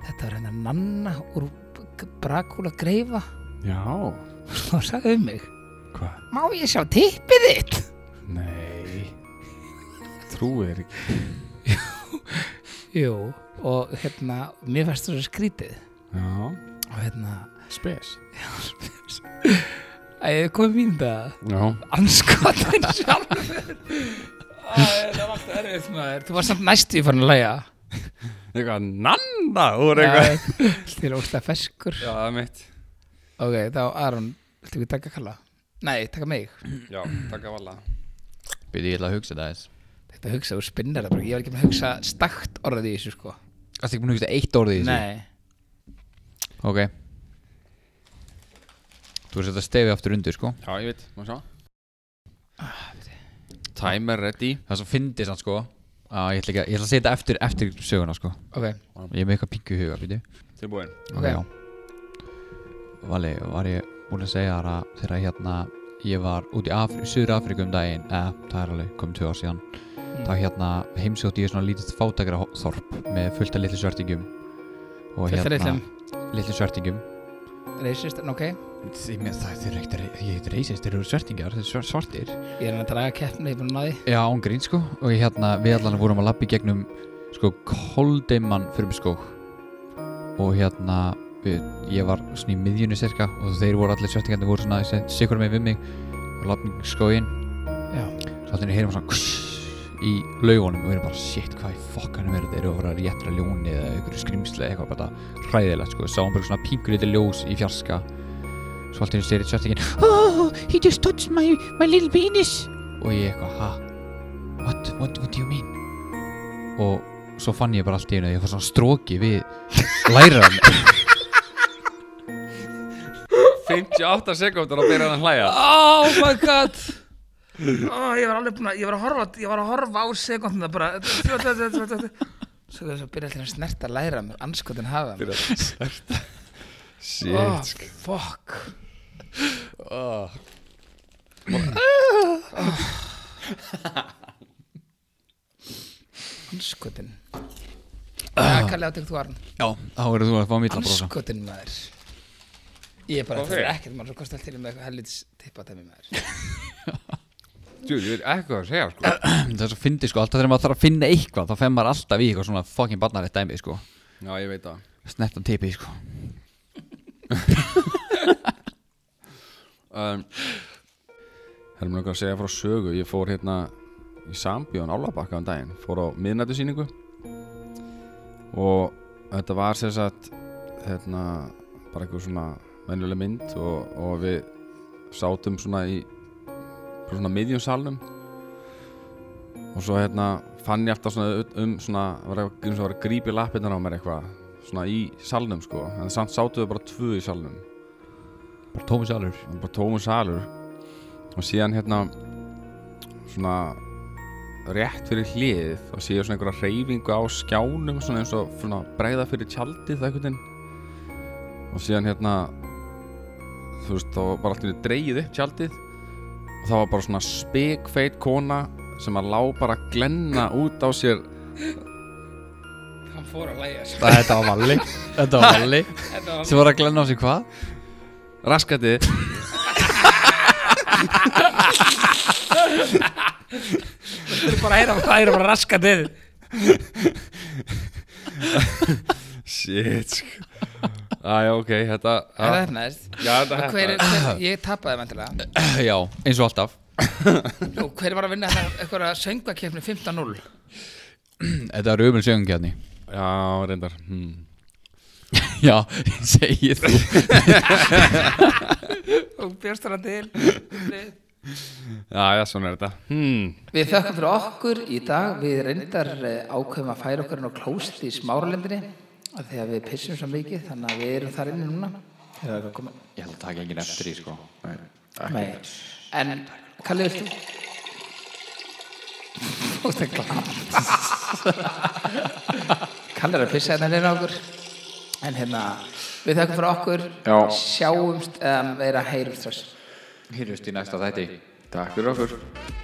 Þetta var hennar nanna úr brakúla greifa
Já
og sagði um mig
Hvað?
Má ég sjá tippið þitt?
Nei Trúir ekki
Jú, og hérna, mér fannst það svo skrítið
Já
og hérna,
Spes
að ég komið mín það
Já
anskotin sjálfur Æ, Það var alltaf erfið maður Þú var samt næstu í farin að læja
Eitthvað nanna úr eitthvað
Þið er óslega ferskur
Já, það er mitt
Ok, þá Aron, viltu ekki taka kalla? Nei, taka mig
Já, takk af alla
Byrði ég ætla að hugsa þetta aðeins
Þetta hugsa, þú spinnir það bara Ég var ekki með að hugsa stakt orðið í þessu sko
Það er ekki búin að hugsa eitt orðið í þessu
Nei
Ok Þú er að setja stefi aftur undir sko
Já, ég veit, má sjá Ah, Timer ready
Það er svo fyndið sann sko að ég, ætla ekki, að- ég ætla að setja eftir, eftir söguna sko
Ok,
Ég er með eitthvað pingu í huga byrju
Tilbúin
Ok.
Ok, já Vali, var ég búin að segja þér að þegar hérna ég var út í Afri, Suður Afriku um daginn eða það er alveg komið tvö ár síðan þá hérna heimsótti ég svona lítið fátakra þorp með fullt af litlu svertingum og hérna-
þetta er eitthvað
litlu svertingum
Reisist, en ok
ég með það, þeir eru ekkert, re- ég heit reisist, þeir eru svertingar, þeir eru svar- svartir
Ég er að draga keppni, ég er búin að ná því
já, án grín sko og ég hérna, við allan vorum að lappa í gegnum sko koldeimann fyrir skók og hérna við, ég var svona í miðjunni cirka og þeir voru allir svertingarnir voru svona sikur með við mig og lappa í skóin
Já,
Svo allir heyrum svona kss í laugunum og við erum bara shit hvað í fokkanum er þetta eru að vera réttra ljóni eða einhverju skrimsli eða eitthvað bara hræðilegt sko sáum bara svona pingur lítið ljós í fjarska svo allir sér eitt sjöttingin oh he just touched my, my little penis og ég eitthvað ha what, what, what do you mean og svo fann ég bara allt í einu að ég fór svona stróki við læran
58 sekúndur og byrjaði að hlæja
Oh my god oh, Ég var alveg búin að Ég var að horfa, ég var að horfa á sekundina bara Svo þess að byrja allir að snerta að læra mér Anskotin hafa mér
Shit
oh, Fuck Anskotin Það kalli átökt þú Arn
já þá verður þú að fá sko. mítla brosa
Anskotin maður Ég er bara,
Ok.
það er ekkert maður svo kostar til með eitthvað hellitis tippadæmi maður
Dude, ég veit eitthvað að segja sko
það er svo fyndi sko alltaf þegar maður þarf að finna eitthvað þá fenn maður alltaf í eitthvað svona fucking barnarætt dæmi sko
Já, ég veit það
snert að tipi sko
um, Það er mjög að segja frá sögu Ég fór hérna í Sambjón Álabakka um daginn Fór á miðnættusýningu Og þetta var sér sagt Hérna Bara eitthvað svona venjuleg mynd og, og við sátum svona í bara Svona miðjum salnum Og svo hérna Fann ég alltaf svona ut- um svona Var eitthvað eins og var að grípi lappirnar á mér eitthvað Svona í salnum sko En samt sátum við bara tvö í salnum
Bara tómi salur
það var bara tómur salur og síðan hérna svona rétt fyrir hliðið og síðan svona einhverja reyfingu á skjánum svona eins og svona bregða fyrir tjaldið það einhvern veginn og síðan hérna þú veist þá var allt í einu dreigið upp tjaldið og það var bara svona spekfeit kona sem að lá bara að glenna út á sér
Hann fór að læja
Það, þetta var Valli Þetta var Valli
Þetta var
sem var að glenna á sig hvað?
raskatið
bara að heyra Það er bara raskat þið
shit aðja ok þetta
Það er næst
já, þetta
Hver er, hver, ég tapaði vantilega
Já, eins og alltaf
Nú, hver var að vinna þetta eitthvað söngvakefni 15-0
Þetta er hérna umil sjöngjarni
já reyndar hmm.
Já, segir þú
og björst hana til
Já, já, svona er þetta hmm.
Við þökkum fyrir okkur í dag. Við reyndar eh, ákveðum að færa okkur inn á klóst í smáralendinni af því að við pissum svo mikið þannig að við erum þar inni núna. Þegar það koma-
Ég held að taka enginn eftir því sko
Nei. En, Kalli, viltu? Fórst að glata. Kalli er að pissa hérna hérna okkur. En hérna, við þökkum fyrir okkur,
Já.
sjáumst, um, er að heyrumst þess.
Hýrjumst í næsta þætti
Takk fyrir okkur